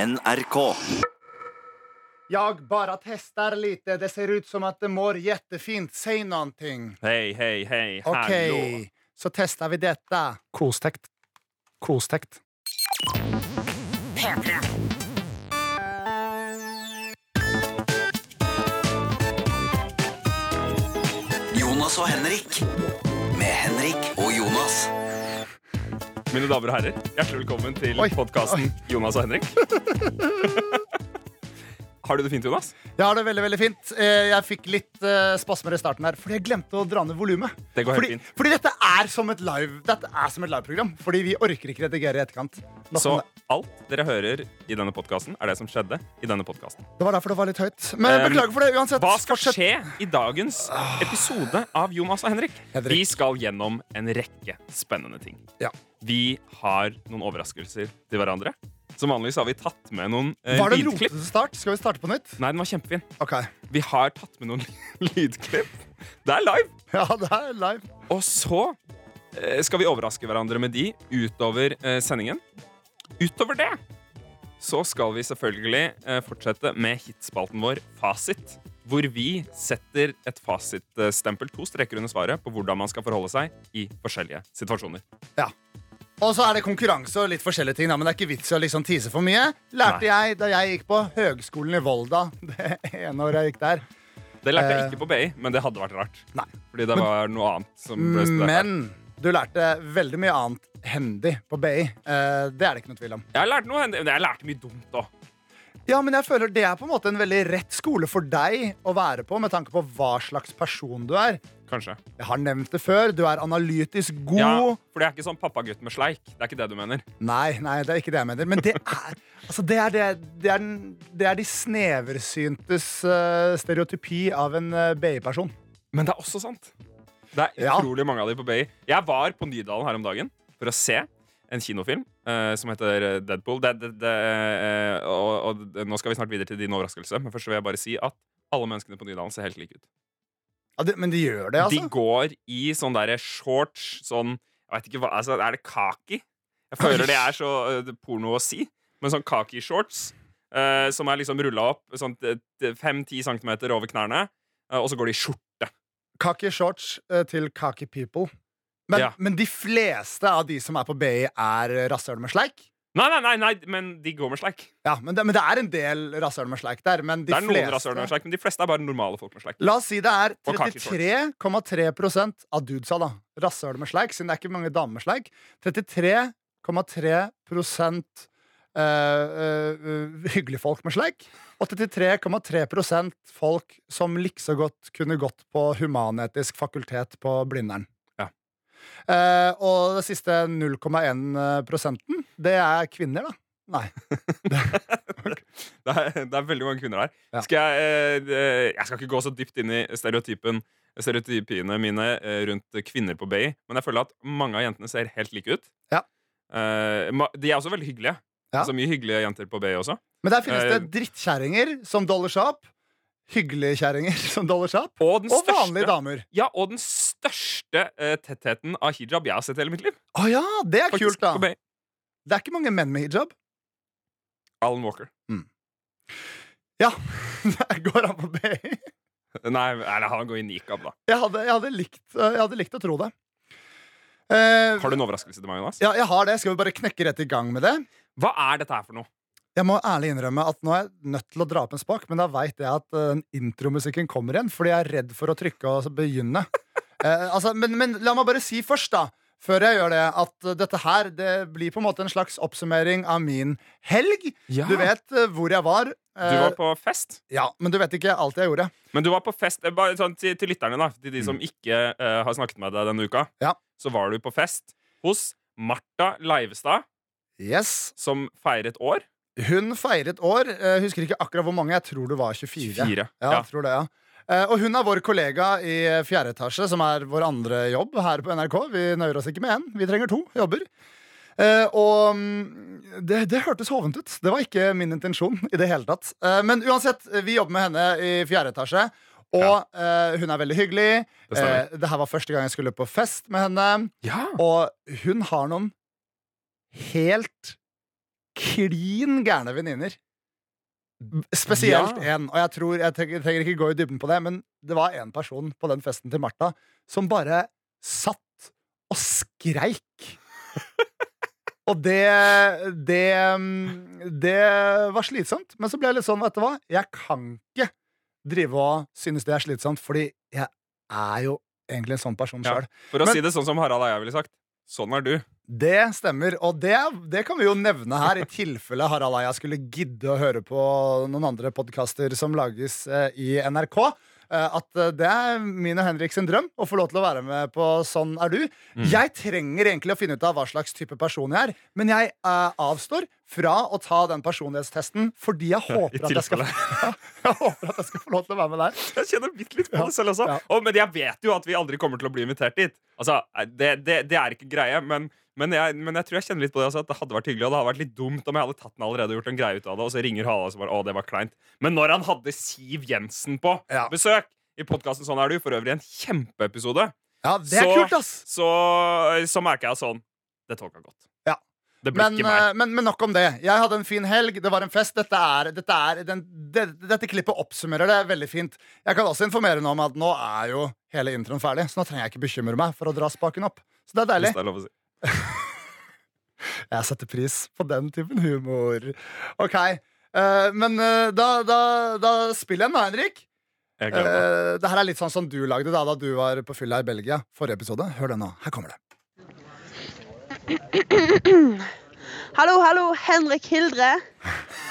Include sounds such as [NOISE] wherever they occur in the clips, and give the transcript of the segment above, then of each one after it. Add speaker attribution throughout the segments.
Speaker 1: NRK.
Speaker 2: Jag bara testar lite. Det ser ut som att det mår jättefint. Säg någonting.
Speaker 3: Hei, hei, hei.
Speaker 2: Okej,
Speaker 3: Hallo.
Speaker 2: så testar vi detta.
Speaker 4: Kostekt. Kostekt.
Speaker 1: Jonas og Henrik. Med Henrik og Jonas.
Speaker 3: Mine damer og herrer, hjertelig velkommen til
Speaker 2: Oi.
Speaker 3: podkasten Jonas
Speaker 2: [LAUGHS]
Speaker 3: og Henrik. Har du det fint, Jonas?
Speaker 2: Jeg har det veldig veldig fint. Eh, Jeg fikk litt eh, spasmer i starten her fordi jeg glemte å dra ned volumet.
Speaker 3: Det går helt
Speaker 2: Fordi,
Speaker 3: fint.
Speaker 2: fordi dette er som et live Dette er som et liveprogram. Fordi vi orker ikke redigere i etterkant. Nok
Speaker 3: Så
Speaker 2: om det.
Speaker 3: alt dere hører i denne podkasten, er det som skjedde i denne podkasten.
Speaker 2: det var derfor det var litt høyt. Men
Speaker 3: Um,
Speaker 2: beklager for det. Uansett.
Speaker 3: Hva skal
Speaker 2: fortsett.
Speaker 3: skje i dagens episode av Jonas og Henrik?
Speaker 2: Henrik.
Speaker 3: Vi skal gjennom en rekke spennende ting.
Speaker 2: Ja.
Speaker 3: Vi har noen overraskelser til hverandre. Som vanligvis har vi tatt med noen eh,
Speaker 2: Var det en
Speaker 3: lydklipp.
Speaker 2: rotete start? Skal vi starte på nytt?
Speaker 3: Nei, den var kjempefin.
Speaker 2: Ok. [LAUGHS]
Speaker 3: Vi har tatt med noen [LAUGHS] lydklipp. Det er live!
Speaker 2: Ja, det er live.
Speaker 3: Og så eh, skal vi overraske hverandre med de utover eh, sendingen. Utover det så skal vi selvfølgelig eh, fortsette med hitspalten vår Fasit. Hvor vi setter et fasitstempel, to streker under svaret, på hvordan man skal forholde seg i forskjellige situasjoner.
Speaker 2: Ja. Og så er det konkurranse og litt forskjellige ting. Da, men det er ikke vits i å liksom tease for mye. Lærte jeg da jeg gikk på Høgskolen i Volda. [LAUGHS] Det ene året jeg gikk der.
Speaker 3: Det lærte jeg
Speaker 2: Eh.
Speaker 3: ikke på BI, men det hadde vært rart.
Speaker 2: Nei.
Speaker 3: Fordi det var noe annet som ble studert. der.
Speaker 2: Men du lærte veldig mye annet hendig på BI. Eh, det er det ikke noe tvil om.
Speaker 3: Jeg lærte noe, men jeg lærte mye dumt òg.
Speaker 2: Ja, men jeg føler Det er på en måte en veldig rett skole for deg å være på, med tanke på hva slags person du er.
Speaker 3: Kanskje.
Speaker 2: Jeg har nevnt det før. Du er analytisk god.
Speaker 3: Ja, for det er ikke sånn pappagutt med sleik. Det er ikke det du mener.
Speaker 2: Nei, nei, det er ikke det jeg mener. Men det er, altså det er, det, det er, den- det er de sneversyntes eh, stereotypi av en eh, BI-person.
Speaker 3: Men det er også sant. Det er
Speaker 2: Ja.
Speaker 3: utrolig mange av de på BI. Jeg var på Nydalen her om dagen for å se en kinofilm eh, som heter eh, Deadpool. Det, det, det, eh, og, og d- nå skal vi snart videre til din overraskelse, men først vil jeg bare si at alle menneskene på Nydalen ser helt like ut.
Speaker 2: Ja, det, men de gjør det,
Speaker 3: De
Speaker 2: altså.
Speaker 3: går i sånn derre shorts, sånn Jeg vet ikke hva altså, Er det kaki? Jeg føler det er så eh, det er porno å si, men sånn kaki-shorts eh, som er liksom rulla opp sånn eh, 5-10 cm over knærne, eh, og så går de i skjorte.
Speaker 2: Kaki shorts eh, til kaki people. Men,
Speaker 3: Ja.
Speaker 2: men de fleste av de som er på BI, er rasshøl med sleik.
Speaker 3: Nei, nei, nei, nei men de går med sleik.
Speaker 2: Ja, men det, men det er en del rasshøl med sleik der. Men de
Speaker 3: det er noen
Speaker 2: fleste,
Speaker 3: rasshøl med sleik, men de fleste er bare normale folk med sleik.
Speaker 2: La oss si det er
Speaker 3: Og kaki
Speaker 2: 33,3 av dudesa, da. Rasshøl med sleik, siden det er ikke mange damer med sleik. 33,3 eh, eh, hyggelige folk med sleik. Og 33,3 folk som likså godt kunne gått på humanetisk fakultet på Blindern.
Speaker 3: Ja.
Speaker 2: Eh, og det siste 0,1 prosenten, det er kvinner, da. Nei.
Speaker 3: Det er, det er veldig mange kvinner der.
Speaker 2: Ja.
Speaker 3: Skal jeg, eh, eh, jeg skal ikke gå så dypt inn i stereotypen, stereotypiene mine eh, rundt kvinner på Bay, men jeg føler at mange av jentene ser helt like ut.
Speaker 2: Ja.
Speaker 3: Eh, ma- de er også veldig hyggelige.
Speaker 2: Ja.
Speaker 3: Altså mye hyggelige jenter på Bay også.
Speaker 2: Men der finnes
Speaker 3: Eh,
Speaker 2: det drittkjerringer som dollar seg opp. Hyggelige kjerringer [LAUGHS] som dollar seg opp.
Speaker 3: Og den
Speaker 2: Og vanlige
Speaker 3: største,
Speaker 2: damer.
Speaker 3: ja, og den største eh, tettheten av hijab jeg har sett i hele mitt liv.
Speaker 2: Å ja, det er
Speaker 3: Faktisk,
Speaker 2: kult, da.
Speaker 3: på Bay.
Speaker 2: Det er ikke mange menn med hijab. [LAUGHS]
Speaker 3: Alan Walker. [LAUGHS]
Speaker 2: Ja, der går han på BI.
Speaker 3: Nei, eller han går i nikab, da.
Speaker 2: Jeg hadde, jeg, hadde likt, jeg hadde likt å tro det. Eh,
Speaker 3: Har du en overraskelse til meg, Jonas?
Speaker 2: ja, jeg har det. Skal vi bare knekke rett i gang med det?
Speaker 3: Hva er dette her for noe?
Speaker 2: Jeg må ærlig innrømme at nå er jeg nødt til å dra opp en spak, men da veit jeg at eh, den intromusikken kommer igjen, fordi jeg er redd for å trykke og begynne. [LAUGHS] Eh, altså, men, men la meg bare si først, da, før jeg gjør det, at eh, dette her det blir på en måte en slags oppsummering av min helg. Du vet eh, hvor jeg var. eh,
Speaker 3: Du var på fest?
Speaker 2: Ja, men du vet ikke alt jeg gjorde.
Speaker 3: Men du var på fest eh, bare sånn, til, til lytterne, da. Til de som ikke eh, har snakket med deg denne uka.
Speaker 2: Ja.
Speaker 3: Så var du på fest hos Martha Leivestad,
Speaker 2: Yes,
Speaker 3: som feiret år.
Speaker 2: Hun feiret år. eh, husker ikke akkurat hvor mange. Jeg tror det var 24.
Speaker 3: Fire.
Speaker 2: Ja, jeg tror det, ja. Eh, Og hun er vår kollega i fjerde etasje, som er vår andre jobb her på NRK. Vi nøyer oss ikke med én, vi trenger to jobber. Eh, og mm, det, det hørtes hovent ut. Det var ikke min intensjon i det hele tatt. Eh, men uansett, vi jobber med henne i fjerde etasje, og eh, hun er veldig hyggelig.
Speaker 3: Det
Speaker 2: Eh,
Speaker 3: stemmer.
Speaker 2: det her var første gang jeg skulle på fest med henne,
Speaker 3: ja.
Speaker 2: og hun har noen helt klin gærne venninner. Spesielt én. Og jeg tror, jeg trenger, trenger ikke gå i dybden på det, men det var en person på den festen til Martha som bare satt og skreik. Og det, det Det var slitsomt. Men så ble jeg litt sånn, vet du hva, jeg kan ikke drive og synes det er slitsomt, fordi jeg er jo egentlig en sånn person
Speaker 3: Ja.
Speaker 2: sjøl.
Speaker 3: For å
Speaker 2: Men-
Speaker 3: si det sånn som Harald og jeg ville sagt. Sånn er du.
Speaker 2: Det stemmer, og det, det kan vi jo nevne her, i tilfelle Harald Eia skulle gidde å høre på noen andre podkaster som lages eh, i NRK. eh, At eh, det er min og Henrik sin drøm å få lov til å være med på Sånn er du. Jeg trenger egentlig å finne ut av hva slags type person jeg er, men jeg eh, avstår fra å ta den personlighetstesten fordi jeg håper, at jeg, skal, [LAUGHS] jeg håper at jeg skal få lov til å være med der.
Speaker 3: Jeg kjenner bitte litt på det selv også.
Speaker 2: ja.
Speaker 3: Å, men jeg vet jo at vi aldri kommer til å bli invitert dit. Altså, Det, det, det er ikke greie, men, men, jeg, men jeg tror jeg kjenner litt på det også, at det hadde vært hyggelig. Og det hadde vært litt dumt om jeg hadde tatt den allerede og gjort en greie ut av det. Og så ringer Hala og så bare Å, det var kleint. Men når han hadde Siv Jensen på
Speaker 2: Ja.
Speaker 3: besøk i podkasten Sånn er du, for øvrig en kjempeepisode,
Speaker 2: Ja, det er
Speaker 3: Så-
Speaker 2: kult, ass!
Speaker 3: så, så merka jeg sånn Det tolka godt.
Speaker 2: Ja.
Speaker 3: Det ble
Speaker 2: Men,
Speaker 3: ikke meg.
Speaker 2: eh, men, men nok om det. Jeg hadde en fin helg, det var en fest. Dette, er, dette, er, den, det, dette klippet oppsummerer det veldig fint. Jeg kan også informere nå om at nå er jo hele introen ferdig, så nå trenger jeg ikke bekymre meg for å dra spaken opp. Så det er deilig.
Speaker 3: Hvis det er lov å si.
Speaker 2: Jeg setter pris på den typen humor. Ok, eh, men eh, da, da, da spiller jeg den da, Henrik.
Speaker 3: Jeg gleder meg.
Speaker 2: Uh, det her er litt sånn som du lagde da, da du var på fylla i Belgia. Forrige episode. Hør den nå. Her kommer det.
Speaker 5: Hallo, hallo, Henrik Hildre.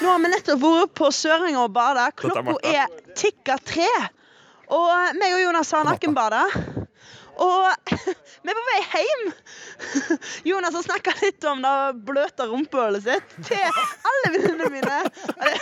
Speaker 5: Nå har vi nettopp vært på Søringa og bada.
Speaker 3: er
Speaker 5: Klokka
Speaker 3: Martha.
Speaker 5: er tikka tre. Og meg og Jonas har nakkenbada. Og [LAUGHS] vi er på vei hjem. [LAUGHS] Jonas har snakka litt om det bløte rumpehullet sitt til alle venninnene mine. Og det,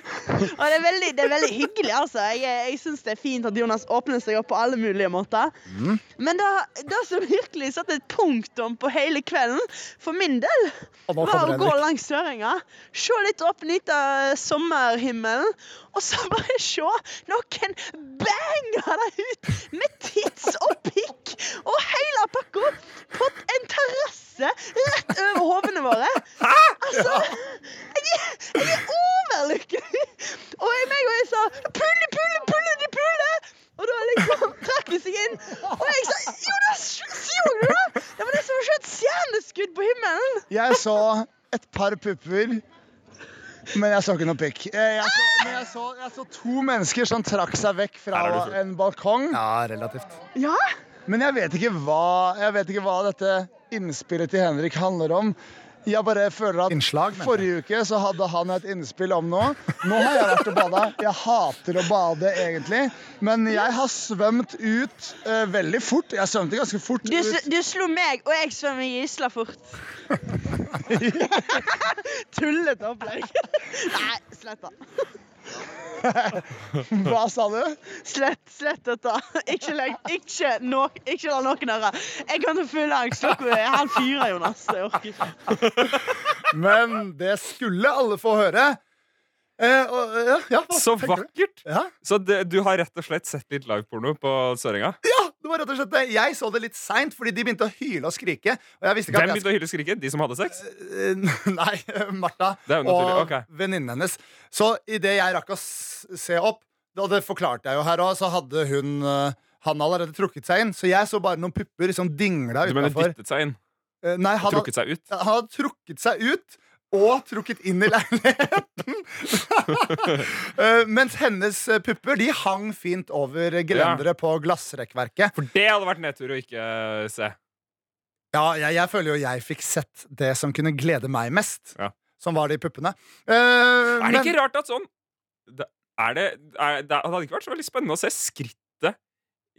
Speaker 5: [LAUGHS] og det, er veldig, det er veldig hyggelig, altså. Jeg, jeg syns det er fint at Jonas åpner seg opp på alle mulige måter.
Speaker 3: Mm.
Speaker 5: Men det, det som virkelig satte et punktum på hele kvelden, for min del,
Speaker 2: Og nå
Speaker 5: var
Speaker 2: kommer
Speaker 5: å gå
Speaker 2: Henrik.
Speaker 5: langs Sørenga, se litt opp, nyte sommerhimmelen, og så [LAUGHS] bare se noen banger der ut med tits og pikk og hele pakka på en terrasse rett over hovene våre. Altså, jeg, er- jeg er overlykkelig! Og jeg, meg og jeg sa 'pulle, pulle, pulle, de puller'. Og da liksom trakk de seg inn. Og jeg sa 'Jonas, så du det?' Det var nesten som å se et stjerneskudd på himmelen.
Speaker 2: Jeg så et par pupper, men jeg så ikke noe pikk. Eh, Jeg så, men jeg så, jeg så to mennesker som trakk seg vekk fra
Speaker 3: Her er du full.
Speaker 2: en balkong. Ja, relativt.
Speaker 5: Ja,
Speaker 2: Men jeg vet, ikke hva, jeg vet ikke hva dette innspillet til Henrik handler om. Jeg bare føler at
Speaker 4: Innslag, mener
Speaker 2: Forrige uke så hadde han et innspill om noe. Nå har jeg vært og bada. Jeg hater å bade, egentlig. Men jeg har svømt ut eh, veldig fort. Jeg svømte ganske fort
Speaker 5: du,
Speaker 2: ut.
Speaker 5: s- du slo meg, og jeg svømmer gisla fort. [LAUGHS] Tullete opplegg. Nei, slett det.
Speaker 2: Hva sa du?
Speaker 5: Slett, slett dette. Ikke, legg, ikke, no, ikke la noen høre. Jeg kan få full angst. Klokka er halv fire, Jonas. Jeg orker ikke.
Speaker 2: Men det skulle alle få høre. Eh, og, ja, ja, hva
Speaker 3: Så
Speaker 2: tenker du?
Speaker 3: vakkert!
Speaker 2: Ja,
Speaker 3: Så det, du har rett og slett sett litt liveporno på Sørenga?
Speaker 2: ja, det var rett og slett det. Jeg så det litt seint, fordi de begynte å hyle og skrike. Og jeg visste ikke
Speaker 3: Hvem
Speaker 2: at jeg
Speaker 3: begynte å hylle og skrike? De som hadde sex?
Speaker 2: Eh, [LAUGHS] Nei, Martha
Speaker 3: Det er jo
Speaker 2: og
Speaker 3: naturlig, ok.
Speaker 2: venninnen hennes. Så idet jeg rakk å s- se opp, og det forklarte jeg jo her òg, så hadde hun eh, han allerede trukket seg inn, så jeg så bare noen pupper som dingla
Speaker 3: Du mener
Speaker 2: utafor.
Speaker 3: dyttet seg inn?
Speaker 2: Nei, han hadde,
Speaker 3: Trukket seg ut?
Speaker 2: han hadde trukket seg ut og trukket inn i
Speaker 3: [LAUGHS]
Speaker 2: leiligheten. Eh, Mens hennes eh, pupper de hang fint over gelenderet på glassrekkverket.
Speaker 3: For det hadde vært nedtur å ikke eh, se.
Speaker 2: Ja, jeg, jeg føler jo jeg fikk sett det som kunne glede meg mest.
Speaker 3: Ja.
Speaker 2: Som var de puppene. Eh,
Speaker 3: Er det
Speaker 2: men-
Speaker 3: ikke rart at sånn det, er det, er, det hadde ikke vært så veldig spennende å se skrittet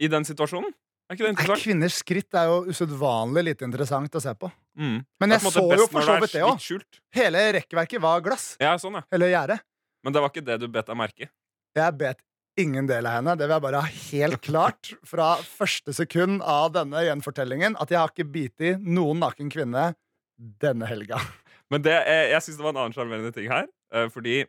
Speaker 3: i den situasjonen? Er ikke det
Speaker 2: Nei,
Speaker 3: interessant?
Speaker 2: kvinners skritt er jo usedvanlig lite interessant å se på.
Speaker 3: Mm.
Speaker 2: Men
Speaker 3: Det er
Speaker 2: jeg
Speaker 3: på en
Speaker 2: så jo
Speaker 3: måte best
Speaker 2: for
Speaker 3: når
Speaker 2: så
Speaker 3: er
Speaker 2: vidt det
Speaker 3: litt
Speaker 2: òg.
Speaker 3: skjult.
Speaker 2: Hele rekkverket var glass.
Speaker 3: Ja, sånn, ja.
Speaker 2: Eller gjerde.
Speaker 3: Men det var ikke det du bet deg merke i.
Speaker 2: Jeg bet ingen del av henne. Det vil jeg bare ha helt klart fra første sekund av denne gjenfortellingen at jeg har ikke bitt i noen naken kvinne denne helga.
Speaker 3: Men det, eh, jeg syns det var en annen sjarmerende ting her. eh, Fordi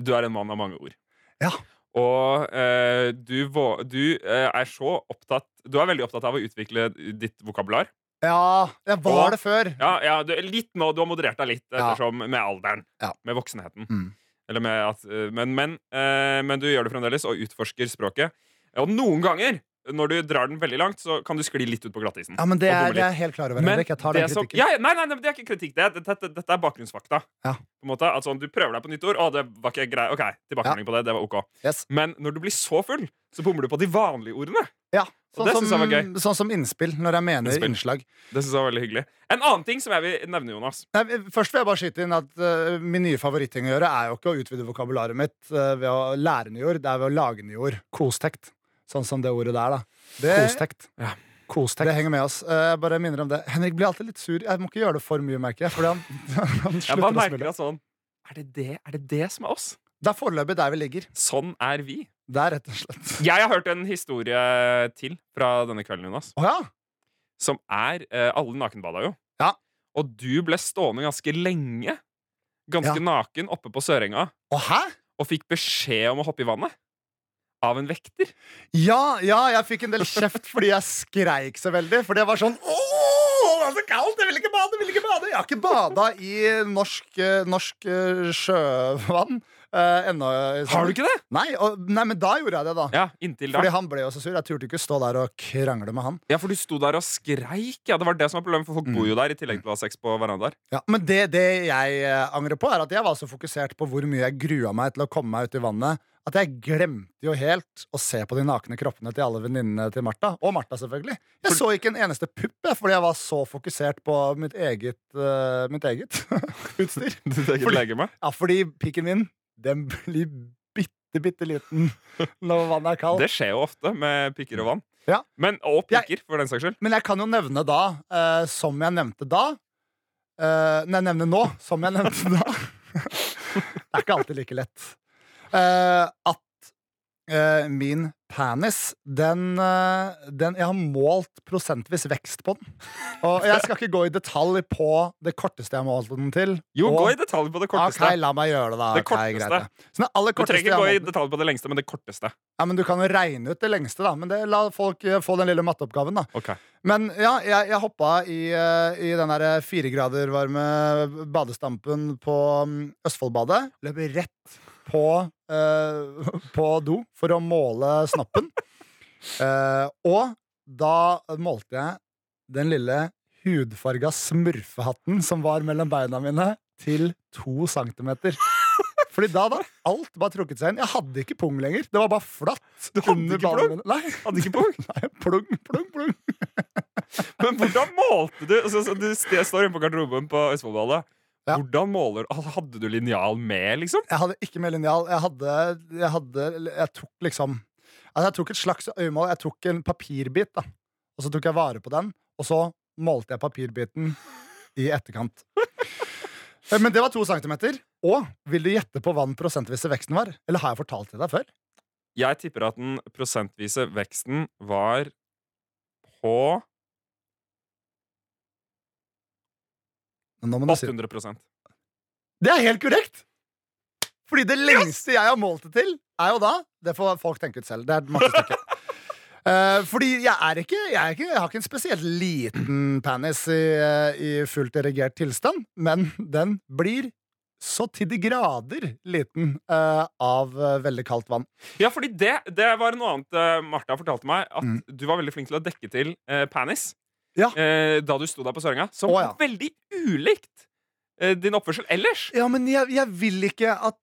Speaker 3: du er en mann av mange ord.
Speaker 2: Ja.
Speaker 3: Og eh, du, vå- du eh, er så opptatt Du er veldig opptatt av å utvikle ditt vokabular.
Speaker 2: Ja, jeg var
Speaker 3: Og-
Speaker 2: det før.
Speaker 3: Ja, ja du, litt nå, du har moderert deg litt
Speaker 2: Ja.
Speaker 3: ettersom, med alderen.
Speaker 2: Ja.
Speaker 3: Med voksenheten.
Speaker 2: Mm.
Speaker 3: Eller med at, eh, men, men, eh, men du gjør det fremdeles og utforsker språket. Og noen ganger, når du drar den veldig langt, så kan du skli litt ut på glattisen.
Speaker 2: Ja, men det
Speaker 3: Og
Speaker 2: er,
Speaker 3: dumme
Speaker 2: det er jeg helt klar over.
Speaker 3: Men
Speaker 2: Henrik. Jeg tar den
Speaker 3: det som-
Speaker 2: kritikken.
Speaker 3: ja, ja, nei, nei, nei, men det er ikke kritikk. Det, er- dette, dette, dette er bakgrunnsfakta.
Speaker 2: Ja.
Speaker 3: På en måte, at sånn, du prøver deg på nytt ord. Å, det var ikke grei. Ok, tilbakemelding på det. Det var ok.
Speaker 2: Yes.
Speaker 3: Men når du blir så full, så bommer du på de vanlige ordene.
Speaker 2: Ja,
Speaker 3: Og
Speaker 2: sånn,
Speaker 3: det
Speaker 2: som,
Speaker 3: synes jeg var gøy.
Speaker 2: sånn som innspill, når jeg mener
Speaker 3: Innspill.
Speaker 2: innslag.
Speaker 3: Det synes jeg var veldig hyggelig. En annen ting som jeg vil nevne, Jonas.
Speaker 2: Nei, først vil jeg bare skyte inn at eh, min nye favoritting å gjøre er jo ikke å utvide vokabularet mitt eh, ved å lære nye ord, det er ved å lage nye ord.
Speaker 4: Kostekt.
Speaker 2: Sånn som det ordet der, da. Det,
Speaker 4: Kostekt.
Speaker 3: Ja.
Speaker 2: det
Speaker 4: Kostekt.
Speaker 2: henger med oss. Eh, Jeg bare minner om det. Henrik blir alltid litt sur. Jeg må ikke gjøre det for mye, merker jeg. Fordi han, [LAUGHS] han
Speaker 3: Jeg bare
Speaker 2: slutter å
Speaker 3: merker
Speaker 2: smile.
Speaker 3: at sånn er det, det, er det det som er oss?
Speaker 2: Det er foreløpig der vi ligger.
Speaker 3: Sånn er vi.
Speaker 2: Det er rett og slett
Speaker 3: Jeg har hørt en historie til fra denne kvelden, Jonas.
Speaker 2: Å ja!
Speaker 3: Som er eh, Alle nakenbada jo.
Speaker 2: Ja.
Speaker 3: Og du ble stående ganske lenge, ganske
Speaker 2: Ja.
Speaker 3: naken, oppe på Sørenga.
Speaker 2: Å hæ?
Speaker 3: og fikk beskjed om å hoppe i vannet. Av en vekter.
Speaker 2: Ja, ja, jeg fikk en del kjeft fordi jeg skreik så veldig. Fordi jeg var sånn Åh, det er så kaldt! Jeg vil ikke bade! Jeg vil ikke bade! Jeg har ikke bada i norsk, eh, norsk eh, sjøvann eh, ennå. i sommer.
Speaker 3: ikke det?
Speaker 2: Nei, og, nei, men da gjorde jeg det, da.
Speaker 3: Ja, inntil da.
Speaker 2: Fordi han ble jo så sur. Jeg turte ikke stå der og krangle med han.
Speaker 3: Ja, For du sto der og skreik. Ja, Det var det som var problemet, for folk
Speaker 2: Mm.
Speaker 3: bor jo der. i tillegg til å ha sex på
Speaker 2: [LAUGHS]
Speaker 3: verandaer.
Speaker 2: Ja, men det, det jeg eh, angrer på, er at jeg var så fokusert på hvor mye jeg grua meg til å komme meg ut i vannet, at jeg glemte jo helt å se på de nakne kroppene til alle venninnene til Martha. Og Martha, selvfølgelig. Jeg så ikke en eneste pupp, jeg, fordi jeg var så fokusert på mitt eget, eh, mitt eget [LAUGHS] utstyr.
Speaker 3: Fordi... legeme.
Speaker 2: Ja, fordi pikken min, den blir bitte, bitte liten når vannet er kaldt.
Speaker 3: Det skjer jo ofte med pikker og vann.
Speaker 2: Ja.
Speaker 3: Men, Og pikker, for den saks skyld.
Speaker 2: Men jeg kan jo nevne da, eh, som jeg nevnte da eh, Nei, nevne nå, som jeg nevnte da. det er ikke alltid like lett. Eh, at eh, min panis, den, eh, den Jeg har målt prosentvis vekst på den. Og jeg skal ikke gå i detalj på det korteste jeg har målt den til.
Speaker 3: Jo,
Speaker 2: og,
Speaker 3: gå i detalj på det korteste.
Speaker 2: Ok, la meg gjøre det, da.
Speaker 3: Det
Speaker 2: Ok, greit,
Speaker 3: korteste.
Speaker 2: det. Så den aller
Speaker 3: du trenger
Speaker 2: korteste jeg
Speaker 3: ikke gå
Speaker 2: har
Speaker 3: i
Speaker 2: målt-
Speaker 3: detalj på det lengste, men det korteste.
Speaker 2: ja, men Du kan jo regne ut det lengste, da. Men det, la folk eh, få den lille matteoppgaven, da.
Speaker 3: Ok.
Speaker 2: Men ja, jeg, jeg hoppa i, eh, i den der fire grader varme badestampen på mm, Østfoldbadet. Løp rett på, eh, på do for å måle snoppen. [LAUGHS] Eh, og da målte jeg den lille hudfarga smurfehatten som var mellom beina mine, til to centimeter. Fordi da hadde alt bare trukket seg inn. Jeg hadde ikke pung lenger. Det var bare flatt.
Speaker 3: Du hadde
Speaker 2: under
Speaker 3: ikke
Speaker 2: ballene
Speaker 3: pung?
Speaker 2: mine. Nei.
Speaker 3: Hadde ikke pung.
Speaker 2: Nei, plung, plung, plung.
Speaker 3: [LAUGHS] Men hvordan målte du? Altså, så du st- står inne på garderoben på Østfoldbadet.
Speaker 2: Ja.
Speaker 3: Hvordan måler du? altså, Hadde du linjal med, liksom?
Speaker 2: Jeg hadde ikke med linjal. Jeg hadde, jeg hadde Jeg tok liksom altså Jeg tok et slags øyemål. Jeg tok en papirbit, da. Og så tok jeg vare på den, og så målte jeg papirbiten i etterkant. Eh, Men det var to centimeter. Og vil du gjette på hva den prosentvise veksten var? Eller har jeg fortalt det deg før?
Speaker 3: Jeg tipper at den prosentvise veksten var på
Speaker 2: Nå må du si
Speaker 3: 800 prosent
Speaker 2: Det er helt korrekt! Fordi det lengste jeg har målt det til, er jo da Det får folk tenke ut selv. Det er et mattestykket. Eh, fordi jeg er ikke jeg, er ikke jeg har ikke en spesielt liten penis i, eh, i fullt erigert tilstand, men den blir så til de grader liten eh, av eh, veldig kaldt vann.
Speaker 3: Ja, fordi det, det var noe annet eh, Martha fortalte meg. At
Speaker 2: Mm.
Speaker 3: du var veldig flink til å dekke til eh, panis
Speaker 2: Ja.
Speaker 3: eh, da du sto der på Sørenga. Som
Speaker 2: Å, ja.
Speaker 3: var veldig ulikt eh, din oppførsel ellers.
Speaker 2: Ja, men jeg, jeg vil ikke at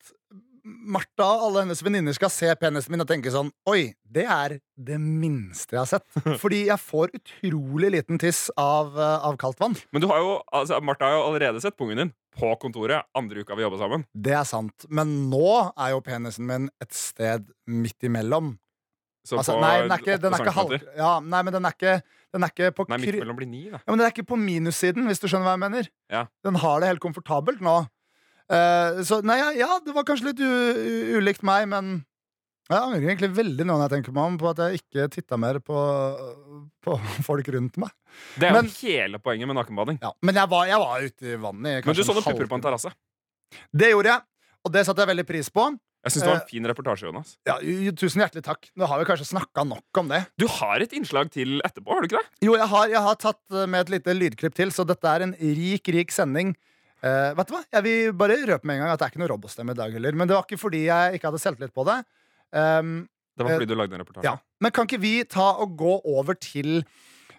Speaker 2: Martha og alle hennes venninner skal se penisen min og tenke sånn Oi, det er det minste jeg har sett. Fordi jeg får utrolig liten tiss av, eh, av kaldt vann.
Speaker 3: Men du har jo, altså, Martha har jo allerede sett pungen din på kontoret andre uka vi jobba sammen.
Speaker 2: Det er sant. Men nå er jo penisen min et sted midt imellom.
Speaker 3: Så
Speaker 2: Altså,
Speaker 3: på
Speaker 2: nei, den er ikke, den er
Speaker 3: åtte
Speaker 2: ikke halv...
Speaker 3: centimeter.
Speaker 2: Ja, nei, men den er ikke, den er ikke på
Speaker 3: Nei, midt
Speaker 2: kry-
Speaker 3: mellom blir ni, da.
Speaker 2: Ja, men den er ikke på minussiden, hvis du skjønner hva jeg mener.
Speaker 3: Ja.
Speaker 2: Den har det helt komfortabelt nå. Eh, så nei, ja, ja, det var kanskje litt u u- ulikt meg, men jeg angrer egentlig veldig nå når jeg tenker meg om på at jeg ikke titta mer på, på folk rundt meg.
Speaker 3: Det er jo
Speaker 2: Men-
Speaker 3: hele poenget med nakenbading.
Speaker 2: Ja, men jeg var, jeg var ute i vannet i
Speaker 3: Men du
Speaker 2: kanskje
Speaker 3: så
Speaker 2: en
Speaker 3: noen pupper på
Speaker 2: halvtime.
Speaker 3: en terrasse.
Speaker 2: Det gjorde jeg, og det satte jeg veldig pris på.
Speaker 3: Jeg syns det var en fin reportasje, Jonas.
Speaker 2: Ja, jo, tusen hjertelig takk. Nå har vi kanskje snakka nok om det.
Speaker 3: Du har et innslag til etterpå, har du ikke det?
Speaker 2: Jo, jeg har, jeg har tatt eh, med et lite lydklipp til, så dette er en rik, rik sending. Eh, vet du hva? Jeg vil bare røpe med en gang at det er ikke noe robotstemme i dag heller. Men det var ikke fordi jeg ikke hadde selvtillit på det. Um,
Speaker 3: Det var fordi du lagde en reportasje.
Speaker 2: ja. Men kan ikke vi ta og gå over til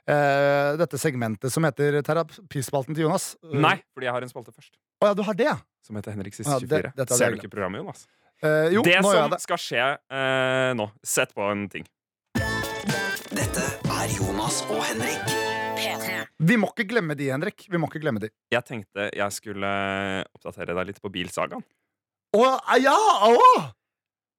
Speaker 2: eh, dette segmentet som heter terapispalten til Jonas? Eh,
Speaker 3: Nei, fordi jeg har en spalte først.
Speaker 2: Å ja, du har det, ja?
Speaker 3: Som heter Henrik siste
Speaker 2: Ja, det-
Speaker 3: 24.
Speaker 2: dette hadde
Speaker 3: Ser
Speaker 2: jeg
Speaker 3: du ikke programmet, Jonas?
Speaker 2: Eh, jo,
Speaker 3: det
Speaker 2: nå gjør jeg
Speaker 3: som
Speaker 2: det.
Speaker 3: skal skje eh, nå Sett på en ting.
Speaker 1: Dette er Jonas og Henrik.
Speaker 2: Vi må ikke glemme de, Henrik. Vi må ikke glemme de.
Speaker 3: Jeg tenkte jeg skulle oppdatere deg litt på bilsagaen.
Speaker 2: Å ah, ja! Å!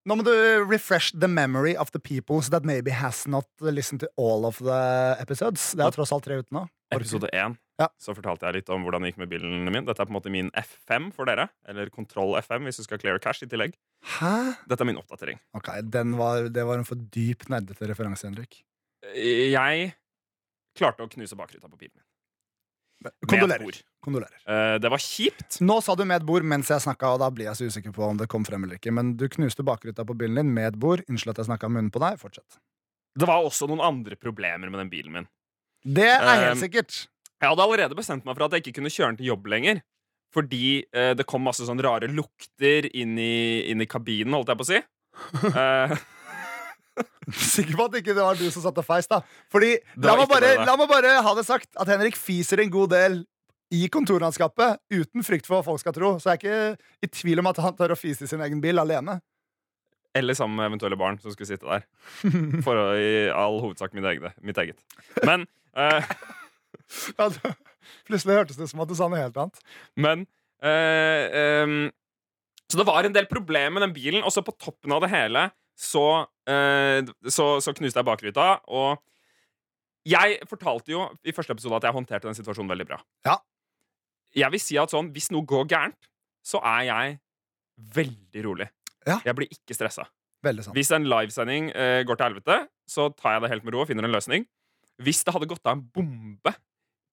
Speaker 2: Nå må du refresh the memory of the people that maybe has not listened to all of the episodes. Det er tross alt tre ute nå.
Speaker 3: Episode 1
Speaker 2: Ja.
Speaker 3: så fortalte jeg litt om hvordan det gikk med bilen min. Dette er på en måte min F5 for dere. Eller Kontroll FM hvis du skal clear cash i tillegg.
Speaker 2: Hæ?
Speaker 3: Dette er min oppdatering.
Speaker 2: Ok, den var, Det var en for dyp, nerdete referanse, Henrik.
Speaker 3: Jeg klarte å knuse bakruta på bilen min. Med et
Speaker 2: Kondolerer.
Speaker 3: bord.
Speaker 2: Kondolerer.
Speaker 3: Eh, det var kjipt.
Speaker 2: Nå sa du med et bord mens jeg snakka, og da blir jeg så usikker på om det kom frem eller ikke. Men du knuste bakruta på bilen din med et bord. Unnskyld at jeg snakka munnen på deg. Fortsett.
Speaker 3: Det var også noen andre problemer med den bilen min.
Speaker 2: Det er
Speaker 3: Um,
Speaker 2: helt sikkert.
Speaker 3: Jeg hadde allerede bestemt meg for at jeg ikke kunne kjøre den til jobb lenger. Fordi eh, det kom masse sånne rare lukter inn i, inn i kabinen, holdt jeg på å si. Eh,
Speaker 2: Sikker på at ikke det var du som satt og feis, da. Fordi,
Speaker 3: Det
Speaker 2: la meg,
Speaker 3: var ikke
Speaker 2: bare,
Speaker 3: det, nei.
Speaker 2: la meg bare ha det sagt at Henrik fiser en god del i kontorlandskapet uten frykt for hva folk skal tro. Så jeg er ikke i tvil om at han tør å fise i sin egen bil alene. [LAUGHS]
Speaker 3: eller sammen med eventuelle barn som skulle sitte der. For å, i all hovedsak mitt eget. Mitt eget. Men, eh,
Speaker 2: Ja, du- Altså, Plutselig hørtes det ut som at du sa noe helt annet.
Speaker 3: men eh, em, Så det var en del problemer med den bilen, og så på toppen av det hele så, eh, så, så knuste jeg bakruta, og jeg fortalte jo i første episode at jeg håndterte den situasjonen veldig bra.
Speaker 2: Ja.
Speaker 3: Jeg vil si at sånn, hvis noe går gærent, så er jeg veldig rolig.
Speaker 2: Ja.
Speaker 3: Jeg blir ikke stressa.
Speaker 2: Veldig sant.
Speaker 3: Hvis en livesending eh, går til helvete, så tar jeg det helt med ro og finner en løsning. Hvis det hadde gått av en bombe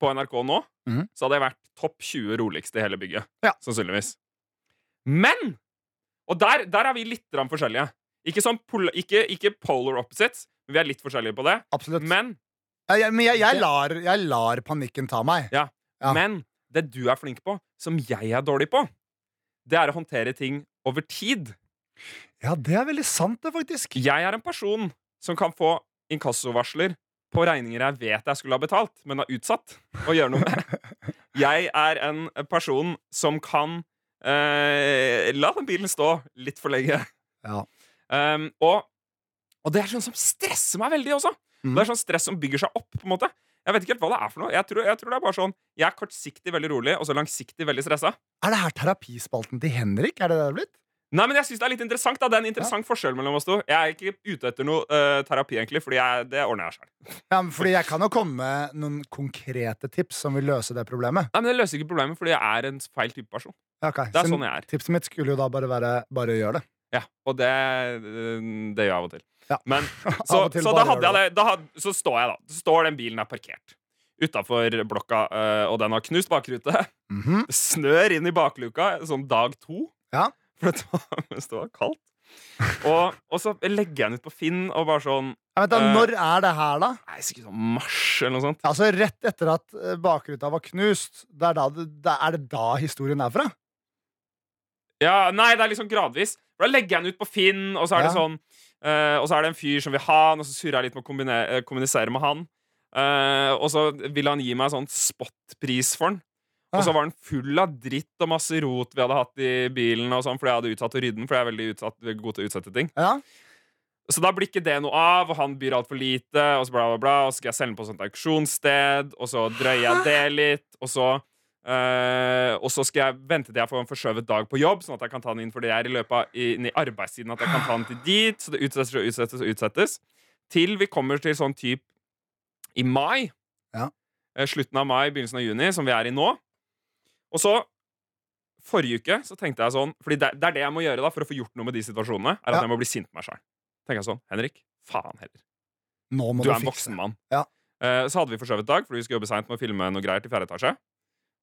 Speaker 3: på NRK nå,
Speaker 2: Mhm.
Speaker 3: så hadde jeg vært topp 20 roligste i hele bygget.
Speaker 2: Ja.
Speaker 3: Sannsynligvis. Men! Og der, der er vi litt grann forskjellige. Ikke, sånn pol ikke, ikke polar opposites, men vi er litt forskjellige på det.
Speaker 2: Absolutt. Men,
Speaker 3: Men,
Speaker 2: jeg, men jeg, jeg, lar, jeg lar panikken ta meg. Ja.
Speaker 3: men det du er flink på, som jeg er dårlig på, det er å håndtere ting over tid.
Speaker 2: Ja, det er veldig sant, det, faktisk.
Speaker 3: Jeg er en person som kan få inkassovarsler på regninger jeg vet jeg skulle ha betalt, men har utsatt å gjøre noe med. Jeg er en person som kan eh, la den bilen stå litt for lenge.
Speaker 2: Ja.
Speaker 3: Um, og, og det er sånn som stresser meg veldig også.
Speaker 2: Mm.
Speaker 3: Det er sånn stress som bygger seg opp. på en måte Jeg vet ikke helt hva det er for noe. Jeg tror, jeg tror det er bare sånn Jeg er kortsiktig veldig rolig, og så langsiktig veldig stressa.
Speaker 2: Er det her terapispalten til Henrik? Er det det det er blitt?
Speaker 3: Nei, men jeg synes Det er litt interessant da Det er en interessant forskjell mellom oss to. Jeg er ikke ute etter noe eh, terapi, egentlig, Fordi jeg, det ordner jeg selv
Speaker 2: Ja, men fordi jeg kan jo komme med noen konkrete tips som vil løse det problemet.
Speaker 3: Nei, men Det løser ikke problemet, fordi jeg er en feil type person.
Speaker 2: Ja, ok.
Speaker 3: Det er
Speaker 2: Så
Speaker 3: sånn jeg er.
Speaker 2: Tipset mitt skulle jo da bare være bare gjør det.
Speaker 3: Ja, Og det, eh, det gjør jeg [LAUGHS] av og til.
Speaker 2: Ja.
Speaker 3: Men, så,
Speaker 2: Av og til
Speaker 3: så, da
Speaker 2: bare gjør
Speaker 3: hadde
Speaker 2: det.
Speaker 3: jeg det, da had, så står jeg, da. Så står den bilen der parkert utafor blokka, eh, og den har knust bakrute. [LAUGHS]
Speaker 2: Mhm.
Speaker 3: Det snør inn i bakluka, sånn dag to.
Speaker 2: Ja.
Speaker 3: For det var, mens det var kaldt. Og, og så legger jeg den ut på Finn, og bare sånn
Speaker 2: ja, vent da,
Speaker 3: Eh.
Speaker 2: Når er det her, da?
Speaker 3: Nei, sikkert sånn mars, eller noe sånt.
Speaker 2: Altså Rett etter at eh, bakruta var knust. Det er, da, det, det er det da historien er fra?
Speaker 3: Ja, nei, det er liksom gradvis. For Da legger jeg den ut på Finn, og så er det
Speaker 2: Ja.
Speaker 3: sånn eh, Og så er det en fyr som vil ha den, og så surrer jeg litt med å kombine- eh, kommunisere med han. Eh, og så vil han gi meg sånn spotpris for den. Og så
Speaker 2: Ah.
Speaker 3: var den full av dritt og masse rot vi hadde hatt i bilen, og sånn, fordi jeg hadde utsatt å rydde den, for jeg er veldig utsatt, god til å utsette ting.
Speaker 2: Ja.
Speaker 3: Så da blir ikke det noe av, og han byr altfor lite, og så bla, bla, bla, og så skal jeg selge den på et sånt auksjonssted, og så drøyer jeg det litt, og så eh, og så skal jeg vente til jeg får en forskjøvet dag på jobb, sånn at jeg kan ta den inn fordi jeg er i løpet av i- inn i arbeidstiden. At jeg kan ta den til dit Så det utsettes og utsettes og utsettes. Til vi kommer til sånn typ i mai.
Speaker 2: Ja.
Speaker 3: Eh, Slutten av mai, begynnelsen av juni, som vi er i nå. Og så Forrige uke så tenkte jeg sånn Fordi det, det er det jeg må gjøre da for å få gjort noe med de situasjonene. Er at
Speaker 2: Ja.
Speaker 3: jeg må bli sint på meg sjøl. Tenker jeg sånn, Henrik, faen heller.
Speaker 2: Nå må
Speaker 3: Du
Speaker 2: du,
Speaker 3: er en
Speaker 2: fikse
Speaker 3: voksen mann.
Speaker 2: Ja.
Speaker 3: Eh, så hadde vi forskjøvet dag, fordi vi skulle jobbe seint med å filme noe greier til fjerde etasje.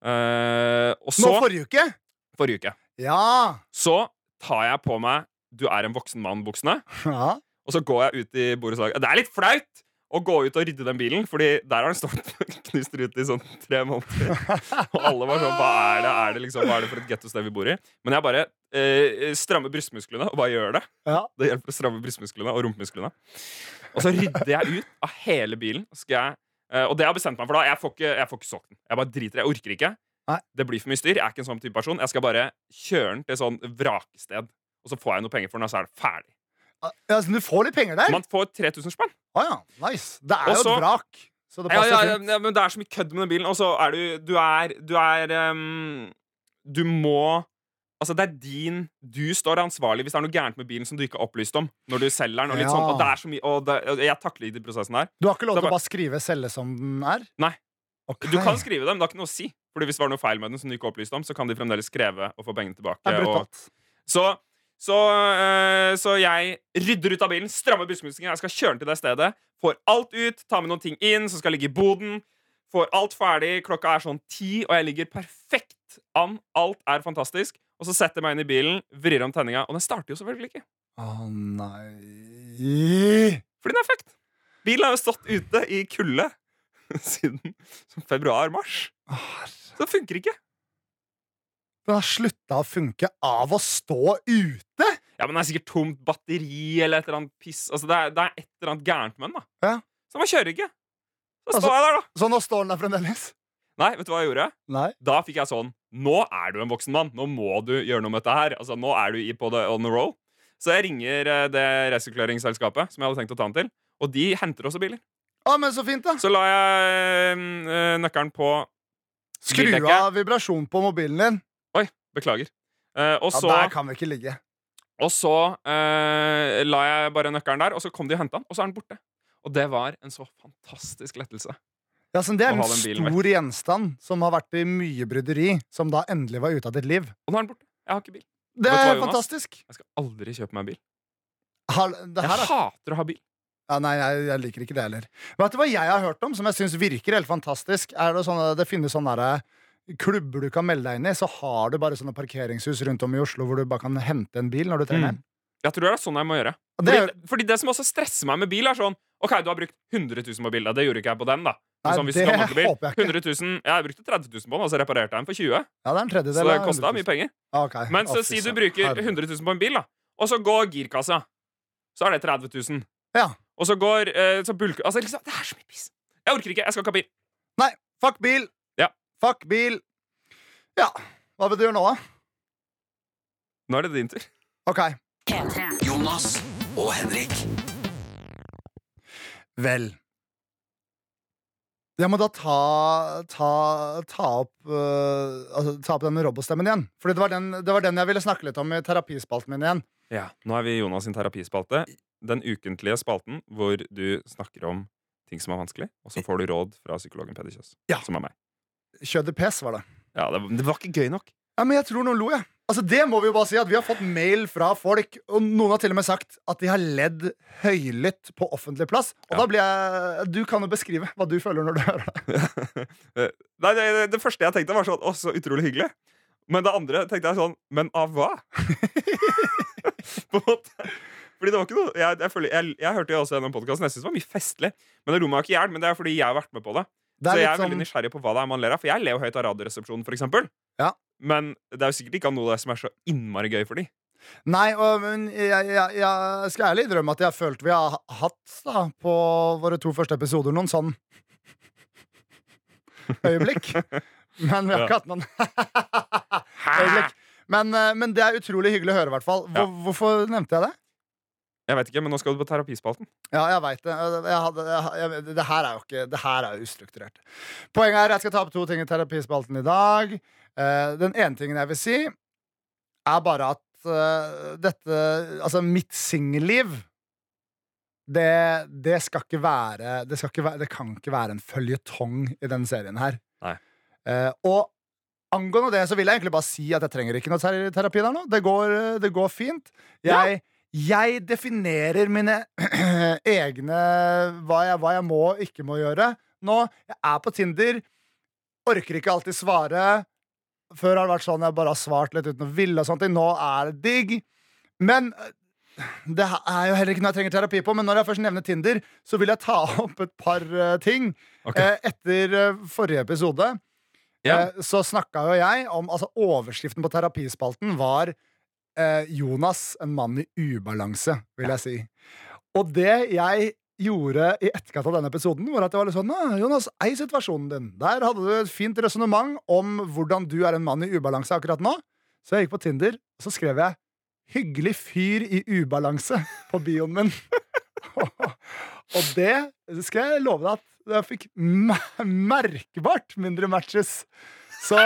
Speaker 3: Eh, og
Speaker 2: Nå
Speaker 3: så,
Speaker 2: forrige uke?
Speaker 3: forrige uke,
Speaker 2: Ja!
Speaker 3: så tar jeg på meg du er en voksen mann, buksene.
Speaker 2: Ja.
Speaker 3: Og så går jeg ut i borettslaget. Det er litt flaut å gå ut og rydde den bilen, Fordi der har den stått [LAUGHS] knust rute i sånn tre måneder.
Speaker 2: [LAUGHS]
Speaker 3: Og alle var sånn Hva er det, er det liksom, hva er det for et gettosted vi bor i? Men jeg bare eh, strammer brystmusklene og bare gjør det.
Speaker 2: ja.
Speaker 3: Det hjelper å stramme brystmusklene og rumpemusklene. Og så rydder jeg ut av hele bilen. Og, skal jeg, eh, og det jeg har bestemt meg for da, jeg får ikke, jeg får ikke solgt den. Jeg bare driter i det. Jeg orker ikke.
Speaker 2: Nei.
Speaker 3: Det blir for mye styr. Jeg er ikke en sånn type person. Jeg skal bare kjøre den til et sånn vrakested, og så får jeg noe penger for den, og så er det ferdig.
Speaker 2: Ja, så du får litt penger der?
Speaker 3: Man får 3000 spenn.
Speaker 2: Å ja, nice. Det er jo
Speaker 3: Også-
Speaker 2: et vrak. Så det
Speaker 3: Ja,
Speaker 2: passer
Speaker 3: ja, ja,
Speaker 2: fint.
Speaker 3: ja, men det er så mye kødd med den bilen, og så er du Du er, du, er ehm, du må Altså, det er din Du står ansvarlig hvis det er noe gærent med bilen som du ikke har opplyst om. Når du selger den, og
Speaker 2: Ja.
Speaker 3: litt sånn. Og det er så mye Og det, og jeg takler ikke den prosessen her.
Speaker 2: Du har ikke lov
Speaker 3: Det
Speaker 2: til å
Speaker 3: var-
Speaker 2: bare skrive 'selge som den er'?
Speaker 3: Nei.
Speaker 2: Ok.
Speaker 3: Du kan skrive det, men det har ikke noe å si. Fordi hvis det var noe feil med den som du ikke opplyste om, så kan de fremdeles kreve å få pengene tilbake.
Speaker 2: Det er
Speaker 3: og,
Speaker 2: brutalt.
Speaker 3: så, så, eh, så jeg rydder ut av bilen, strammer bussmusikken, jeg skal kjøre den til det stedet, får alt ut, tar med noen ting inn som skal ligge i boden, får alt ferdig, klokka er sånn ti, og jeg ligger perfekt an, alt er fantastisk, og så setter jeg meg inn i bilen, vrir om tenninga, og den starter jo selvfølgelig ikke,
Speaker 2: Å nei
Speaker 3: fordi den er fucked. Bilen har jo stått ute i kulde [LAUGHS] siden februar-mars,
Speaker 2: Å, herre.
Speaker 3: så den funker ikke.
Speaker 2: Den har slutta å funke av å stå ute!
Speaker 3: Ja, men det er sikkert tomt batteri eller et eller annet piss. Altså, det er, det er et eller annet gærent med den, da.
Speaker 2: Ja.
Speaker 3: Så man kjører ikke. Så
Speaker 2: Altså-
Speaker 3: står jeg der, da.
Speaker 2: Så nå står den der fremdeles?
Speaker 3: Nei, vet du hva jeg gjorde?
Speaker 2: Nei.
Speaker 3: Da fikk jeg sånn Nå er du en voksen mann. Nå må du gjøre noe med dette her. Altså, nå er du i på the on the roll. Så jeg ringer eh, det resirkuleringsselskapet som jeg hadde tenkt å ta den til, og de henter også biler.
Speaker 2: Å, men så fint, da.
Speaker 3: Så la jeg eh, nøkkelen på
Speaker 2: Skru
Speaker 3: bildekket.
Speaker 2: av vibrasjon på mobilen din.
Speaker 3: Beklager. Eh, og
Speaker 2: Ja,
Speaker 3: så
Speaker 2: Der kan vi ikke ligge.
Speaker 3: Og så eh, la jeg bare nøkkelen der, og så kom de og henta den, og så er den borte. Og det var en så fantastisk lettelse.
Speaker 2: Ja, så Det
Speaker 3: Å
Speaker 2: er en
Speaker 3: ha den bilen
Speaker 2: stor gjenstand som har vært i mye bryderi, som da endelig var ute av ditt liv.
Speaker 3: Og nå er den borte. Jeg har ikke bil.
Speaker 2: Det
Speaker 3: Vet du hva,
Speaker 2: er
Speaker 3: Jonas?
Speaker 2: fantastisk.
Speaker 3: Jeg skal aldri kjøpe meg bil.
Speaker 2: Har- Det
Speaker 3: Jeg
Speaker 2: her er
Speaker 3: hater å ha bil.
Speaker 2: Ja, nei, jeg, jeg liker ikke det heller. Vet du hva jeg har hørt om, som jeg syns virker helt fantastisk? Er det, sånne, det finnes sånne der, eh, klubber du kan melde deg inn i, så har du bare sånne parkeringshus rundt om i Oslo hvor du bare kan hente en bil når du trenger
Speaker 3: Mm.
Speaker 2: en.
Speaker 3: Jeg tror det er sånn jeg må gjøre.
Speaker 2: Og
Speaker 3: Fordi
Speaker 2: det,
Speaker 3: det, fordi det som også stresser meg med bil, er sånn OK, du har brukt 100 000 på bil. da. Det gjorde ikke jeg på den, da. Men
Speaker 2: Nei,
Speaker 3: sånn, hvis
Speaker 2: det
Speaker 3: du skal handle bil,
Speaker 2: håper jeg ikke.
Speaker 3: 100 000, jeg brukte 30 000 på den, og så reparerte jeg den for 20
Speaker 2: ja, det er en
Speaker 3: Så
Speaker 2: tredjedel.
Speaker 3: det
Speaker 2: av
Speaker 3: kosta
Speaker 2: 100 000.
Speaker 3: mye penger.
Speaker 2: Ja, Ah, ok.
Speaker 3: Men så
Speaker 2: Ja, fy
Speaker 3: si du
Speaker 2: søren.
Speaker 3: bruker
Speaker 2: Herregud.
Speaker 3: 100 000 på en bil, da. Og så går girkassa. Så er det 30 000.
Speaker 2: Ja.
Speaker 3: Og så går eh, så bulk, altså, liksom, Det er så mye piss. Jeg orker ikke. Jeg skal ikke ha bil.
Speaker 2: Nei, fuck bil!
Speaker 3: Ja.
Speaker 2: Fuck bil! Ja, hva vil du gjøre nå, da?
Speaker 3: Nå er det din tur.
Speaker 2: Ok.
Speaker 1: Jonas og Henrik.
Speaker 2: Vel. Jeg må da ta, ta, ta, opp, øh, altså, ta opp den med robotstemmen igjen. Fordi det var, den, det var den jeg ville snakke litt om i terapispalten min igjen.
Speaker 3: Ja, Nå er vi i Jonas sin terapispalte. Den ukentlige spalten hvor du snakker om ting som er vanskelig, og så får du råd fra psykologen Peder Kjøs.
Speaker 2: Ja.
Speaker 3: Som er meg.
Speaker 2: Kjødde pes, var det.
Speaker 3: Ja, det, det var ikke gøy nok.
Speaker 2: Ja, men jeg tror noen lo, jeg. Altså, det må vi jo bare si, at vi har fått mail fra folk, og noen har til og med sagt at de har ledd høylytt på offentlig plass. Og
Speaker 3: Ja.
Speaker 2: da blir jeg Du kan jo beskrive hva du føler når du hører det.
Speaker 3: Eh, [LAUGHS] Nei, det, det, det første jeg tenkte, var sånn Å, så utrolig hyggelig. Men det andre tenkte jeg sånn Men av hva? [LAUGHS] På en måte. Fordi det var ikke noe Jeg, jeg, føler, jeg, jeg hørte jo også gjennom podkasten. Jeg synes det var mye festlig. Men det lo meg ikke i hjel. Men det er fordi jeg har vært med på det.
Speaker 2: Det
Speaker 3: så
Speaker 2: er
Speaker 3: jeg
Speaker 2: litt
Speaker 3: er veldig
Speaker 2: sånn
Speaker 3: nysgjerrig på hva det er man ler av. For jeg ler jo høyt av Radioresepsjonen, for eksempel.
Speaker 2: Ja.
Speaker 3: Men det er jo sikkert ikke av noe av det som er så innmari gøy for de.
Speaker 2: Nei, og, men jeg, jeg, jeg skal ærlig innrømme at jeg har følt vi har hatt da, på våre to første episoder noen sånn øyeblikk. Men vi har
Speaker 3: Ja.
Speaker 2: ikke hatt noen øyeblikk. Men, eh, men det er utrolig hyggelig å høre, i hvert fall. Hvor, Hvorfor nevnte jeg det?
Speaker 3: Jeg vet ikke, men nå skal du på terapispalten.
Speaker 2: Ja, jeg veit det. Jeg hadde, jeg, jeg, det her er jo ikke Det her er jo ustrukturert. Poenget er jeg skal ta opp to ting i terapispalten i dag. Eh, den ene tingen jeg vil si, er bare at eh, dette Altså, mitt singelliv det, det skal ikke være det, skal ikke være det kan ikke være en føljetong i denne serien her.
Speaker 3: Nei.
Speaker 2: Eh, og angående det så vil jeg egentlig bare si at jeg trenger ikke noe ter terapi der nå. Det går, det går fint. Jeg, jeg definerer mine [CLEARS THROAT] egne hva jeg, hva jeg må og ikke må gjøre. Nå, jeg er på Tinder, orker ikke alltid svare. Før har det vært sånn jeg bare har svart litt uten å ville og sånne ting. Nå er det digg. Men eh, det er jo heller ikke noe jeg trenger terapi på, men når jeg først nevner Tinder, så vil jeg ta [LAUGHS] opp et par eh, ting.
Speaker 3: Ok.
Speaker 2: Eh, etter eh, forrige episode
Speaker 3: Ja.
Speaker 2: eh, så snakka jo jeg om Altså, overskriften på terapispalten var eh, 'Jonas, en mann i ubalanse', vil jeg si. Og det jeg gjorde i etterkant av denne episoden, var at jeg var litt sånn «Nå, Jonas, ei situasjonen din. Der hadde du et fint resonnement om hvordan du er en mann i ubalanse akkurat nå. Så jeg gikk på Tinder, og så skrev jeg 'hyggelig fyr i ubalanse' [LAUGHS] på bioen min. og det skal jeg love deg at jeg fikk mer- merkbart mindre matches. Så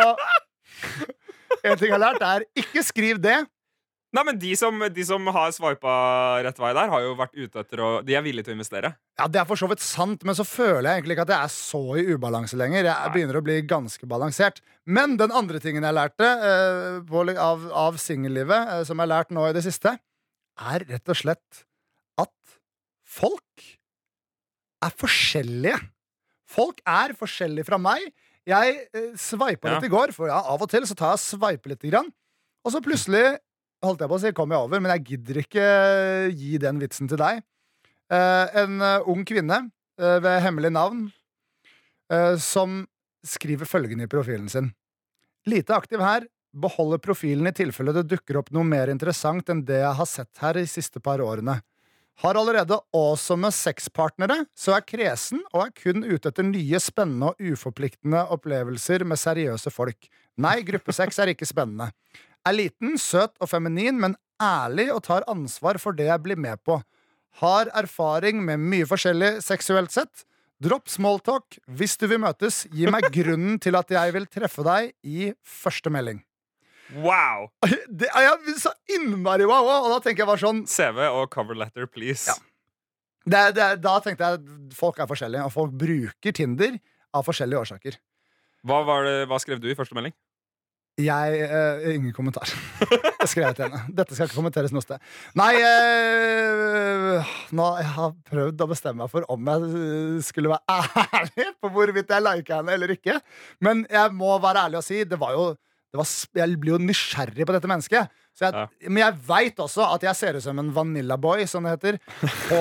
Speaker 2: en ting jeg har lært, er ikke skriv det.
Speaker 3: Nei, men de som, de som har swipa rett vei der, har jo vært ute etter å De er villige til å investere.
Speaker 2: Ja, Det er for så vidt sant, men så føler jeg egentlig ikke at jeg er så i ubalanse lenger. Jeg begynner å bli ganske balansert. Men den andre tingen jeg lærte eh, på, av, av singellivet, eh, som jeg har lært nå i det siste, er rett og slett at folk er forskjellige. Folk er forskjellige fra meg. Jeg eh, sveipa
Speaker 3: Ja.
Speaker 2: litt i går, for ja, av og til så tar jeg og sveiper lite grann. Og så plutselig holdt jeg på å si kom jeg over, men jeg gidder ikke gi den vitsen til deg. Eh, en eh, ung kvinne eh, ved hemmelig navn eh, som skriver følgende i profilen sin. Lite aktiv her. Beholder profilen i tilfelle det dukker opp noe mer interessant enn det jeg har sett her de siste par årene. Har allerede awesome sexpartnere, så er kresen og er kun ute etter nye, spennende og uforpliktende opplevelser med seriøse folk. Nei, gruppesex er ikke spennende. Er liten, søt og feminin, men ærlig og tar ansvar for det jeg blir med på. Har erfaring med mye forskjellig seksuelt sett. Dropp smalltalk. Hvis du vil møtes, gi [LAUGHS] meg grunnen til at jeg vil treffe deg i første melding.
Speaker 3: Wow!
Speaker 2: [LAUGHS] Det er jeg så innmari wow, og da tenker jeg bare sånn
Speaker 3: CV og cover letter, please.
Speaker 2: Ja. det, er- det, er- Da tenkte jeg at folk er forskjellige, og folk bruker Tinder av forskjellige årsaker.
Speaker 3: Hva, var det, hva skrev du i første melding?
Speaker 2: Jeg eh, Ingen kommentar. [LAUGHS] Jeg skrev til henne. Dette skal ikke kommenteres noe sted. Nei, eh, nå jeg har prøvd å bestemme meg for om jeg eh, skulle være ærlig på hvorvidt jeg liker henne eller ikke. Men jeg må være ærlig og si det var jo det var, sp- Jeg blir jo nysgjerrig på dette mennesket. Så jeg,
Speaker 3: Ja.
Speaker 2: Men jeg veit også at jeg ser ut som en Vanilla Boy, som det heter, på,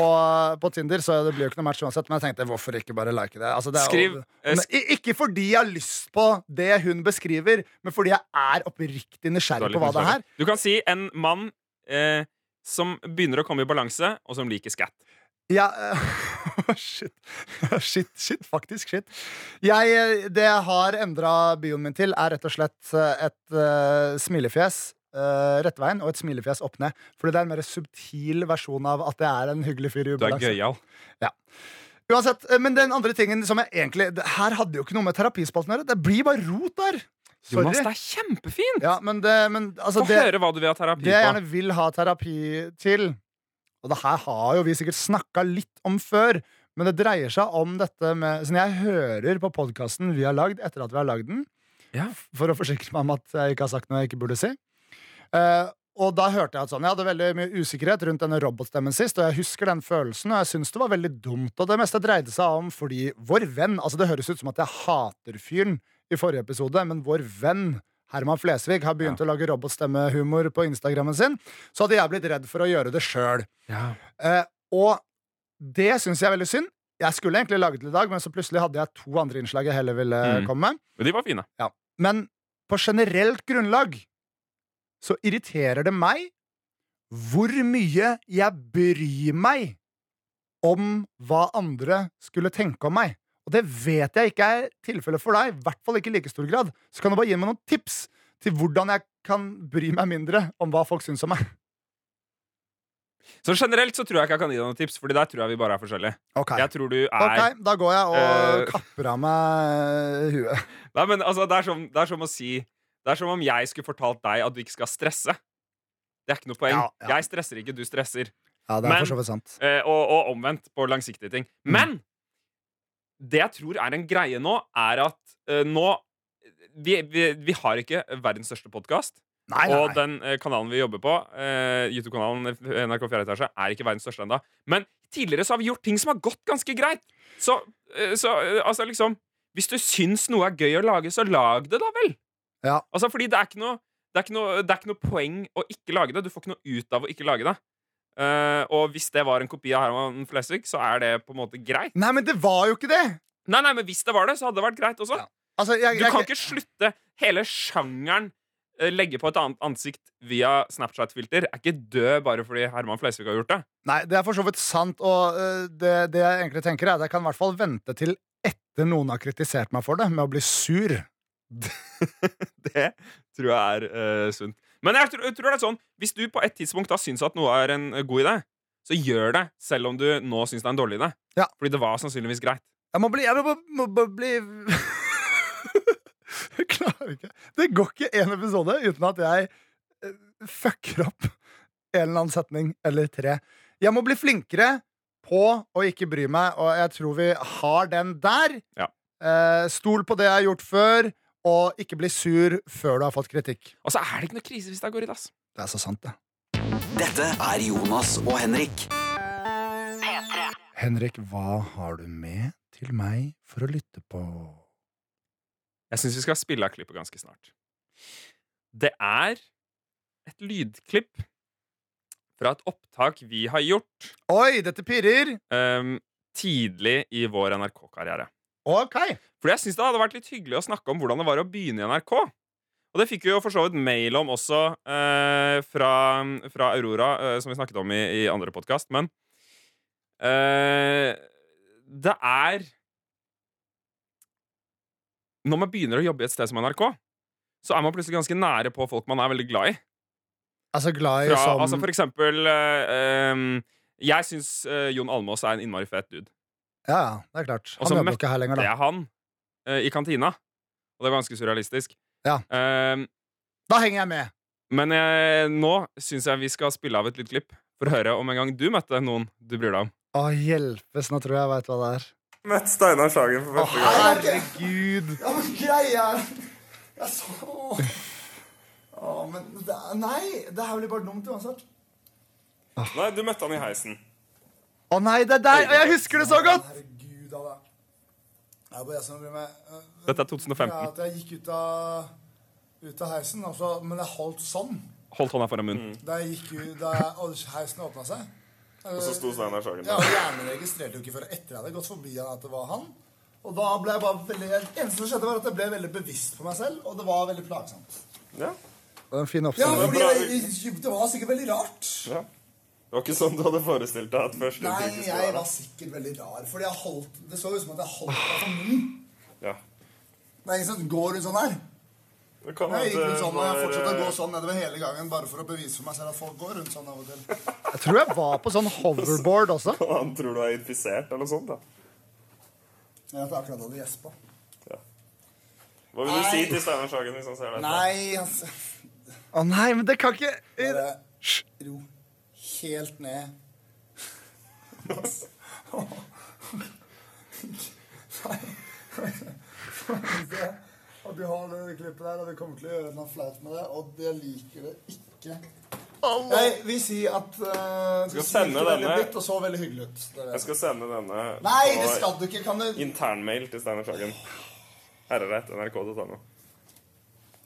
Speaker 2: på Tinder. Så det blir jo ikke noe match uansett. Men jeg tenkte hvorfor ikke bare like det? Altså, det er jo-
Speaker 3: Skriv- eh,
Speaker 2: Men i- Ikke fordi jeg har lyst på det hun beskriver, men fordi jeg er oppriktig
Speaker 3: Du er
Speaker 2: nysgjerrig
Speaker 3: litt
Speaker 2: på hva det er.
Speaker 3: nysgjerrig. Du kan si en mann eh, som begynner å komme i balanse, og som liker skatt.
Speaker 2: Ja, eh, [LAUGHS] shit. shit, shit, faktisk shit. Jeg, eh, det jeg har endra bioen min til, er rett og slett eh, et eh, smilefjes uh, rette veien og et smilefjes opp ned. Fordi det er en mer subtil versjon av at jeg er en hyggelig fyr i
Speaker 3: Du er
Speaker 2: ubalanse.
Speaker 3: gøyal.
Speaker 2: Uansett, eh, men den andre tingen som jeg egentlig det, Her hadde jo ikke noe med terapispalten å gjøre. Det blir bare rot der. Sorry.
Speaker 3: Jonas, det er kjempefint!
Speaker 2: Ja, men det, men, altså,
Speaker 3: Få
Speaker 2: det,
Speaker 3: høre hva du vil ha terapi
Speaker 2: det jeg
Speaker 3: på.
Speaker 2: gjerne vil ha terapi til Og det her har jo vi sikkert snakka litt om før, men det dreier seg om dette med Sånn jeg hører på podkasten vi har lagd etter at vi har lagd den,
Speaker 3: Ja.
Speaker 2: for å forsikre meg om at jeg ikke har sagt noe jeg ikke burde si. Eh, og da hørte jeg at sånn, jeg hadde veldig mye usikkerhet rundt denne robotstemmen sist, og jeg husker den følelsen, og jeg syns det var veldig dumt. Og det meste dreide seg om fordi vår venn Altså, det høres ut som at jeg hater fyren i forrige episode, men vår venn Herman Flesvig har begynt å lage robotstemmehumor på Instagrammen sin, så hadde jeg blitt redd for å gjøre det sjøl.
Speaker 3: Ja.
Speaker 2: Eh, og det syns jeg er veldig synd. Jeg skulle egentlig laget det i dag, men så plutselig hadde jeg to andre innslag jeg heller ville
Speaker 3: Mm.
Speaker 2: komme med.
Speaker 3: Men de var fine.
Speaker 2: Men på generelt grunnlag så irriterer det meg hvor mye jeg bryr meg om hva andre skulle tenke om meg. Og det vet jeg ikke er tilfellet for deg, i hvert fall ikke i like stor grad. Så kan du bare gi meg noen tips til hvordan jeg kan bry meg mindre om hva folk syns om meg.
Speaker 3: Så generelt så tror jeg ikke jeg kan gi deg noen tips, Fordi der tror jeg vi bare er forskjellige.
Speaker 2: Ok,
Speaker 3: Jeg tror du er
Speaker 2: Ok, da går jeg og
Speaker 3: Eh.
Speaker 2: kapper av meg huet.
Speaker 3: Nei, men altså, det er, som, det er som å si Det er som om jeg skulle fortalt deg at du ikke skal stresse. Det er ikke noe poeng.
Speaker 2: Ja, ja.
Speaker 3: Jeg stresser ikke, du stresser.
Speaker 2: Ja, det er
Speaker 3: Men-
Speaker 2: for så vidt sant.
Speaker 3: Eh, og, og omvendt på langsiktige ting.
Speaker 2: Mm.
Speaker 3: Men det jeg tror er en greie nå, er at eh, nå vi, vi, vi har ikke verdens største podkast.
Speaker 2: Nei, nei,
Speaker 3: Og
Speaker 2: nei.
Speaker 3: den eh, kanalen vi jobber på, eh, YouTube-kanalen NRK 4 etasje, er ikke verdens største ennå. Men tidligere så har vi gjort ting som har gått ganske greit. Så, eh, så eh, altså liksom Hvis du syns noe er gøy å lage, så lag det, da vel!
Speaker 2: Ja.
Speaker 3: Altså, fordi det er ikke noe det er ikke, noe, det er ikke noe poeng å ikke lage det. Du får ikke noe ut av å ikke lage det. Eh, og hvis det var en kopi av Herman Flesvig, så er det på en måte greit.
Speaker 2: Nei, men det var jo ikke det!
Speaker 3: Nei, nei, men hvis det var det, så hadde det vært greit også.
Speaker 2: Ja. Altså, jeg,
Speaker 3: Du
Speaker 2: jeg,
Speaker 3: kan ikke slutte hele sjangeren eh, legge på et annet ansikt via Snapchat-filter. Er ikke død bare fordi Herman Flesvig har gjort det. [LAUGHS]
Speaker 2: Nei, det er for så vidt sant, og øh, det, det jeg egentlig tenker, er at jeg kan i hvert fall vente til etter noen har kritisert meg for det, med å bli sur.
Speaker 3: Det tror jeg er eh, sunt. Men jeg tror, jeg tror det er sånn hvis du på et tidspunkt da syns at noe er en eh, god idé, så gjør det, selv om du nå syns det er en dårlig idé.
Speaker 2: Ja.
Speaker 3: Fordi det var sannsynligvis greit.
Speaker 2: Jeg må bli Jeg må, må, må bli [LAUGHS] Jeg klarer ikke. Det går ikke én episode uten at jeg eh, fucker opp en eller annen setning eller tre. Jeg må bli flinkere på å ikke bry meg, og jeg tror vi har den der.
Speaker 3: Ja.
Speaker 2: Eh, stol på det jeg har gjort før, og ikke bli sur før du har fått kritikk.
Speaker 3: Og så er det ikke noe krise hvis det går i dass.
Speaker 2: Det er så sant, det.
Speaker 1: Dette er Jonas og Henrik.
Speaker 2: Henrik, hva har du med til meg for å lytte på?
Speaker 3: Jeg syns vi skal spille av klippet ganske snart. Det er et lydklipp fra et opptak vi har gjort
Speaker 2: Oi, dette pirrer!
Speaker 3: ehm, tidlig i vår NRK-karriere.
Speaker 2: Ok.
Speaker 3: For jeg syns det hadde vært litt hyggelig å snakke om hvordan det var å begynne i NRK. Og det fikk vi jo for så vidt mail om også eh, fra, fra Aurora, eh, som vi snakket om i, i andre podkast, men eh, Det er Når man begynner å jobbe i et sted som NRK, så er man plutselig ganske nære på folk man er veldig glad i.
Speaker 2: Altså glad i
Speaker 3: Fra,
Speaker 2: som
Speaker 3: altså for eksempel eh, em, Jeg syns eh, Jon Almås er en innmari fet dude.
Speaker 2: Ja, ja, det er klart.
Speaker 3: Og
Speaker 2: Han
Speaker 3: så
Speaker 2: jobber jo ikke her lenger,
Speaker 3: Det
Speaker 2: da.
Speaker 3: er han eh, i kantina. Og det er ganske surrealistisk.
Speaker 2: Ja.
Speaker 3: Ehm,
Speaker 2: Da henger jeg med!
Speaker 3: men jeg, nå syns jeg vi skal spille av et lite klipp for å høre om en gang du møtte noen du bryr deg om.
Speaker 2: Å, hjelpes, nå tror jeg jeg veit hva det er.
Speaker 6: Møtt Steinar Sagen for første gang.
Speaker 2: herregud!
Speaker 7: Ja, men greia er Jeg så Åh, men det er, Nei, det her blir bare dumt uansett.
Speaker 6: Nei, du møtte han i heisen.
Speaker 2: Å nei, det er deg! Og jeg husker det så godt!
Speaker 7: Herregud, Ada. Det er bare jeg som bryr meg. Eh,
Speaker 3: Dette er
Speaker 7: det er
Speaker 3: 2015.
Speaker 7: at jeg gikk ut av, ut av heisen, altså, men jeg holdt sånn
Speaker 3: Holdt hånda foran munnen.
Speaker 6: Mm.
Speaker 7: da jeg gikk ut da jeg- og heisen åpna seg.
Speaker 6: Og så sto Steinar Sagen
Speaker 7: Ja,
Speaker 6: der.
Speaker 7: og Hjernen registrerte jo ikke før etter jeg hadde gått forbi han at det var han. Og da ble jeg bare veldig, Det eneste som skjedde, var at jeg ble veldig bevisst på meg selv, og det var veldig plagsomt.
Speaker 6: Ja.
Speaker 2: Det var en fin
Speaker 7: Ja,
Speaker 2: oppsamling.
Speaker 7: fordi jeg, det var sikkert veldig rart.
Speaker 6: ja. Det var ikke sånn du hadde forestilt deg at første
Speaker 7: Nei,
Speaker 6: uke skulle
Speaker 7: jeg
Speaker 6: være.
Speaker 7: var sikkert veldig rar. Fordi jeg holdt, Det så ut som at jeg holdt meg for munnen.
Speaker 6: Ja.
Speaker 7: Det er ingen som går rundt sånn her.
Speaker 6: Det kan
Speaker 7: Jeg gikk
Speaker 6: hende
Speaker 7: rundt sånn, og jeg
Speaker 6: når,
Speaker 7: fortsatte å
Speaker 6: eh,
Speaker 7: gå sånn nedover hele gangen bare for å bevise for meg selv at folk går rundt sånn av og til.
Speaker 2: Jeg tror jeg var på sånn hoverboard også.
Speaker 6: Han tror du er infisert eller noe sånt. da.
Speaker 7: Jeg vet akkurat hadde gjespa.
Speaker 6: Hva vil du
Speaker 7: Nei.
Speaker 6: si til Steinar Sagen hvis han ser deg?
Speaker 7: Nei, altså
Speaker 2: Å nei, men det kan ikke
Speaker 7: Bare ro helt ned. Nei. Og du har det klippet der, og vi kommer til å gjøre noe flaut med det, og jeg liker det ikke. Jeg vil si at uh,
Speaker 6: Skal sende denne.
Speaker 7: Og så veldig hyggelig ut. Det er det.
Speaker 6: Jeg skal sende denne
Speaker 7: Nei, det skal du ikke! Kan du
Speaker 6: internmail til Steinar Sagen. Herrerett, nrk.no.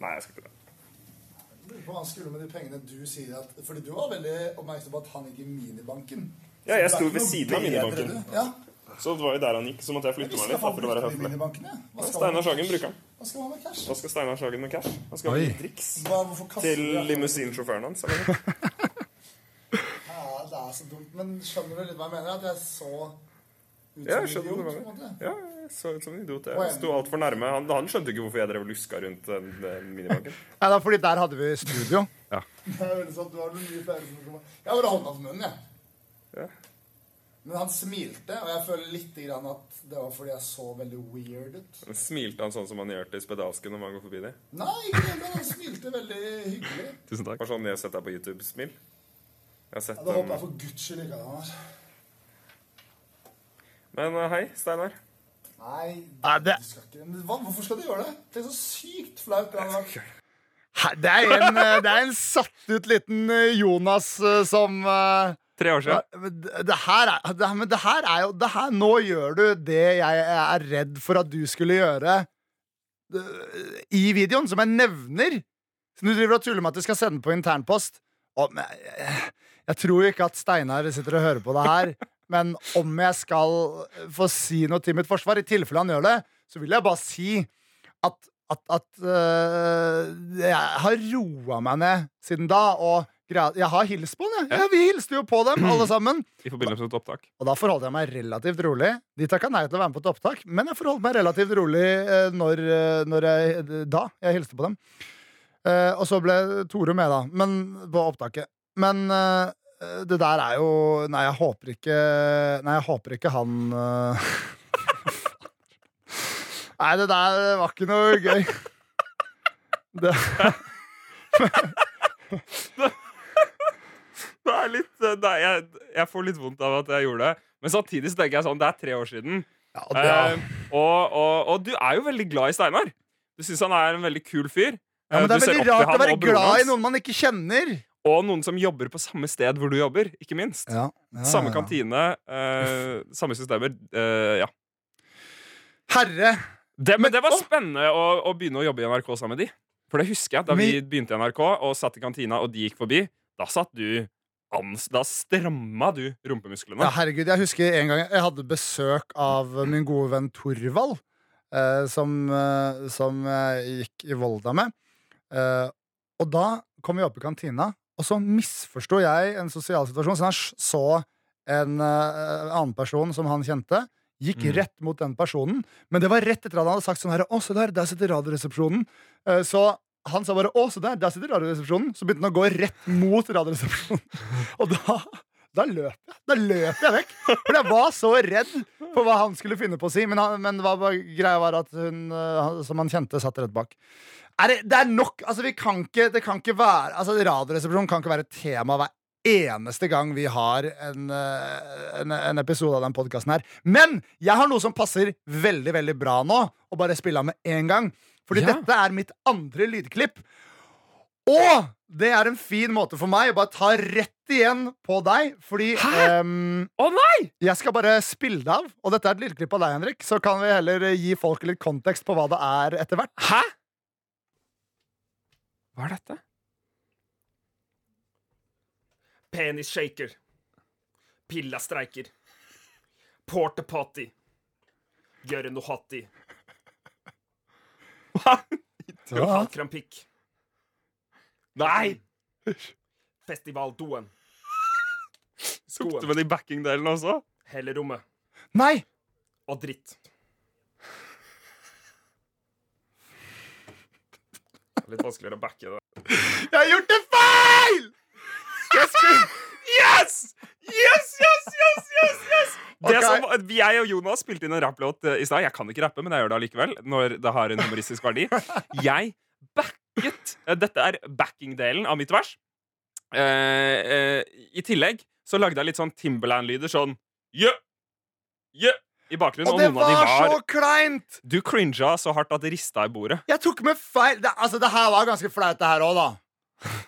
Speaker 6: Nei, jeg skal ikke det.
Speaker 7: Hva han skulle med de pengene du sier at Fordi du var veldig oppmerksom på at han gikk i minibanken.
Speaker 6: Ja, jeg
Speaker 7: Så
Speaker 6: sto
Speaker 7: det er ikke
Speaker 6: ved
Speaker 7: noe
Speaker 6: siden av
Speaker 7: bedre,
Speaker 6: minibanken.
Speaker 7: du. Ja.
Speaker 6: Så det var jo der han gikk. Så måtte jeg flytte meg
Speaker 7: Visste
Speaker 6: litt da,
Speaker 7: han
Speaker 6: for å være
Speaker 7: brukte de
Speaker 6: høflig.
Speaker 7: minibankene? Hva skal man
Speaker 6: Steinar
Speaker 7: med
Speaker 6: Sagen
Speaker 7: cash?
Speaker 6: bruker den.
Speaker 7: Hva skal man med cash?
Speaker 6: Hva skal Steinar Sagen med cash? Han skal ha
Speaker 2: Oi.
Speaker 6: litt driks
Speaker 7: Hva, hvorfor kaster
Speaker 6: til
Speaker 7: du det?
Speaker 6: limousinsjåføren
Speaker 7: [LAUGHS]
Speaker 6: hans. eller?
Speaker 7: Ja, det er så dumt. Men skjønner du litt hva jeg mener? At jeg så ut
Speaker 6: Ja,
Speaker 7: som en
Speaker 6: jeg skjønner hva
Speaker 7: idiot, på
Speaker 6: du
Speaker 7: en måte.
Speaker 6: Ja, jeg så ut som en idiot.
Speaker 7: Å,
Speaker 6: Jeg
Speaker 7: ja.
Speaker 6: sto altfor nærme. Han, han skjønte ikke hvorfor jeg drev og luska rundt den, den minibanken. [LAUGHS]
Speaker 2: Nei, da, fordi der hadde vi studio.
Speaker 7: Det er veldig sant, du har noen mye flere som kommer. Jeg bare holdt hans munn, jeg.
Speaker 6: Ja.
Speaker 7: Men han smilte, og jeg føler litt grann at det var fordi jeg så veldig weird ut.
Speaker 6: Men Smilte han sånn som han gjør til spedalsken når man går forbi dem?
Speaker 7: Nei, ikke det, men han smilte veldig hyggelig.
Speaker 3: Tusen takk.
Speaker 6: Bare sånn jeg har sett deg på YouTube-smil. Jeg har sett
Speaker 7: Ja, Da håper jeg
Speaker 6: den.
Speaker 7: for guds skyld ikke at han er
Speaker 6: Men eh, hei, Steinar.
Speaker 7: Nei,
Speaker 2: Nei, det,
Speaker 7: du skal ikke men hva, Hvorfor skal du gjøre det? Det er så sykt flaut. det hadde vært.
Speaker 2: Hei, det, er en, eh, det er en satt ut liten eh, Jonas eh, som eh,
Speaker 3: Tre år
Speaker 2: Ja,
Speaker 3: siden.
Speaker 2: men det det her er, det, her- men det her er jo det her, Nå gjør du det jeg er redd for at du skulle gjøre øh, i videoen, som jeg nevner. Så du driver og tuller med at du skal sende på internpost. Å, men jeg, Jeg tror ikke at Steinar sitter og hører på det her, [LAUGHS] men om jeg skal få si noe til mitt forsvar, i tilfelle han gjør det, så vil jeg bare si at, at, at øh, jeg har roa meg ned siden da, og greia- jeg har hilst på han, jeg. Ja, vi hilste jo på [CLEARS THROAT] dem, alle sammen.
Speaker 3: I forbindelse med et opptak.
Speaker 2: Og da forholdt jeg meg relativt rolig. De takka nei til å være med på et opptak, men jeg forholdt meg relativt rolig eh, når, eh, når jeg, eh, da jeg hilste på dem. Eh, og så ble Tore med, da, men på opptaket. Men eh, det der er jo Nei, jeg håper ikke Nei, jeg håper ikke han eh, [LAUGHS] Nei, det der var ikke noe
Speaker 3: [LAUGHS]
Speaker 2: gøy. Det,
Speaker 3: Det er litt, eh, det er, jeg, jeg får litt vondt av at jeg gjorde det. Men samtidig så tenker jeg sånn, det er tre år siden.
Speaker 2: ja, det er,
Speaker 3: Eh, og, og, og du er jo veldig glad i Steinar. Du syns han er en veldig kul fyr.
Speaker 2: ja, men det er
Speaker 3: Eh, du ser
Speaker 2: veldig
Speaker 3: opp til
Speaker 2: rart å
Speaker 3: han
Speaker 2: være
Speaker 3: og broren
Speaker 2: glad i
Speaker 3: hans.
Speaker 2: noen man ikke kjenner.
Speaker 3: Og noen som jobber på samme sted hvor du jobber, ikke minst.
Speaker 2: Ja, ja,
Speaker 3: Samme
Speaker 2: ja.
Speaker 3: kantine, eh, samme systemer. eh, ja.
Speaker 2: Herre
Speaker 3: det, men
Speaker 2: Men-
Speaker 3: det var
Speaker 2: Åh!
Speaker 3: spennende å, å begynne å jobbe i NRK sammen med de. For det husker jeg, da vi
Speaker 2: Men-
Speaker 3: begynte i NRK og satt i kantina, og de gikk forbi, da satt du ans, Da stramma du rumpemusklene.
Speaker 2: Ja, herregud, jeg husker en gang jeg hadde besøk av min gode venn Torvald, eh, som, eh, som jeg gikk i Volda med. Eh, og da kom vi opp i kantina, og så misforsto jeg en sosial situasjon. Så han s- så en eh, annen person som han kjente, gikk
Speaker 3: Mm.
Speaker 2: rett mot den personen. Men det var rett etter at han hadde sagt sånn her Å, se der, der sitter Radioresepsjonen. Eh, så han sa bare 'Å, se der, der sitter Radioresepsjonen'. Så begynte han å gå rett mot Radioresepsjonen. [LAUGHS] Og da, da løp jeg. Da løp jeg vekk. For jeg var så redd for hva han skulle finne på å si. Men, han, men hva, var- greia var at hun eh, han- som han kjente, satt rett bak. Er det, det er nok altså, vi kan ikke, Det kan ikke være altså, Radioresepsjonen kan ikke være et tema hver eneste gang vi har en, eh, en, en episode av den podkasten her. Men jeg har noe som passer veldig veldig bra nå, og bare spille av med én gang. Fordi
Speaker 3: Ja.
Speaker 2: dette er mitt andre lydklipp. Og det er en fin måte for meg å bare ta rett igjen på deg, fordi ehm,
Speaker 3: Å nei!
Speaker 2: jeg skal bare spille det av, og dette er et lydklipp av deg, Henrik. Så kan vi heller eh, gi folk litt kontekst på hva det er etter hvert.
Speaker 3: Hæ? Hva er dette?
Speaker 8: Penis shaker. Pilla streiker. Porta potty. Gjøre noe hotty.
Speaker 2: Ja.
Speaker 8: Halvkrampikk.
Speaker 3: Nei!
Speaker 8: Festivaldoen.
Speaker 3: Sukte
Speaker 8: Skoen.
Speaker 3: med de backingdelene også.
Speaker 8: Hellerommet.
Speaker 2: Nei!
Speaker 8: Og dritt.
Speaker 3: Litt vanskeligere å backe det.
Speaker 2: Jeg har gjort det feil!
Speaker 3: Jeg skulle... Yes! Yes, yes, yes, yes, yes! Det
Speaker 2: Ok.
Speaker 3: som, var- jeg og Jonas spilte inn en rapplåt eh, i stad. Jeg kan ikke rappe, men jeg gjør det allikevel. Når det har en humoristisk verdi. Jeg backet eh, Dette er backing-delen av mitt vers. Eh, eh, I tillegg så lagde jeg litt sånn Timberland-lyder sånn Jø! Jø! I bakgrunnen.
Speaker 2: Og
Speaker 3: Og,
Speaker 2: det
Speaker 3: noen av
Speaker 2: var
Speaker 3: de var
Speaker 2: så kleint!
Speaker 3: Du cringa så hardt at det rista i bordet.
Speaker 2: Jeg tok med feil. Det, altså, det her var ganske flaut, det her òg, da.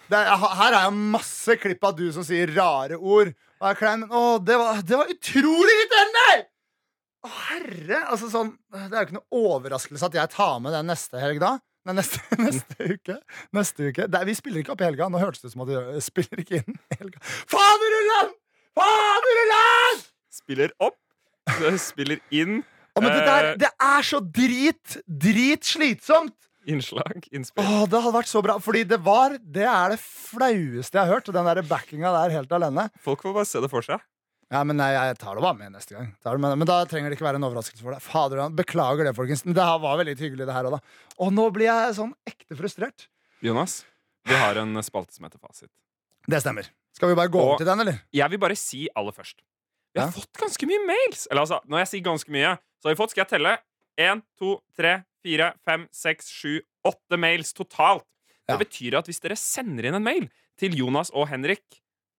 Speaker 2: Det, her er jo masse klipp av du som sier rare ord. Og er klein, men å, det var, det var utrolig irriterende! Å, herre! Altså, sånn, det er jo ikke noe overraskelse at jeg tar med den neste helg, da. Nei, neste, [LAUGHS] neste uke. Neste uke. Det, vi spiller ikke opp i helga. Nå hørtes det ut som at vi gjør- spiller ikke inn i helga. Faderullan! Faderullan!
Speaker 3: Spiller opp, [LAUGHS] spiller inn.
Speaker 2: Å, men det der,
Speaker 3: Eh.
Speaker 2: det er så drit, drit slitsomt!
Speaker 3: Innslag, innspill.
Speaker 2: Åh, det hadde vært så bra, fordi det var Det er det flaueste jeg har hørt, den der backinga der helt alene.
Speaker 3: Folk får bare se det for seg.
Speaker 2: Ja, men nei, jeg tar det bare med neste gang. Tar det med, men da trenger det ikke være en overraskelse for deg. Fader, han- Beklager det, folkens. Men det her var veldig hyggelig, det her òg, da. Og nå blir jeg sånn ekte frustrert.
Speaker 3: Jonas, vi har en eh, spalte som heter Fasit.
Speaker 2: Det stemmer. Skal vi bare gå over
Speaker 3: Og-
Speaker 2: til den, eller?
Speaker 3: Jeg vil bare si aller først Vi har
Speaker 2: Ja.
Speaker 3: fått ganske mye mails. Eller altså, når jeg sier ganske mye, så har vi fått Skal jeg telle? Én, to, tre, fire, fem, seks, sju, åtte mails totalt. Det
Speaker 2: Ja.
Speaker 3: betyr at hvis dere sender inn en mail til Jonas og Henrik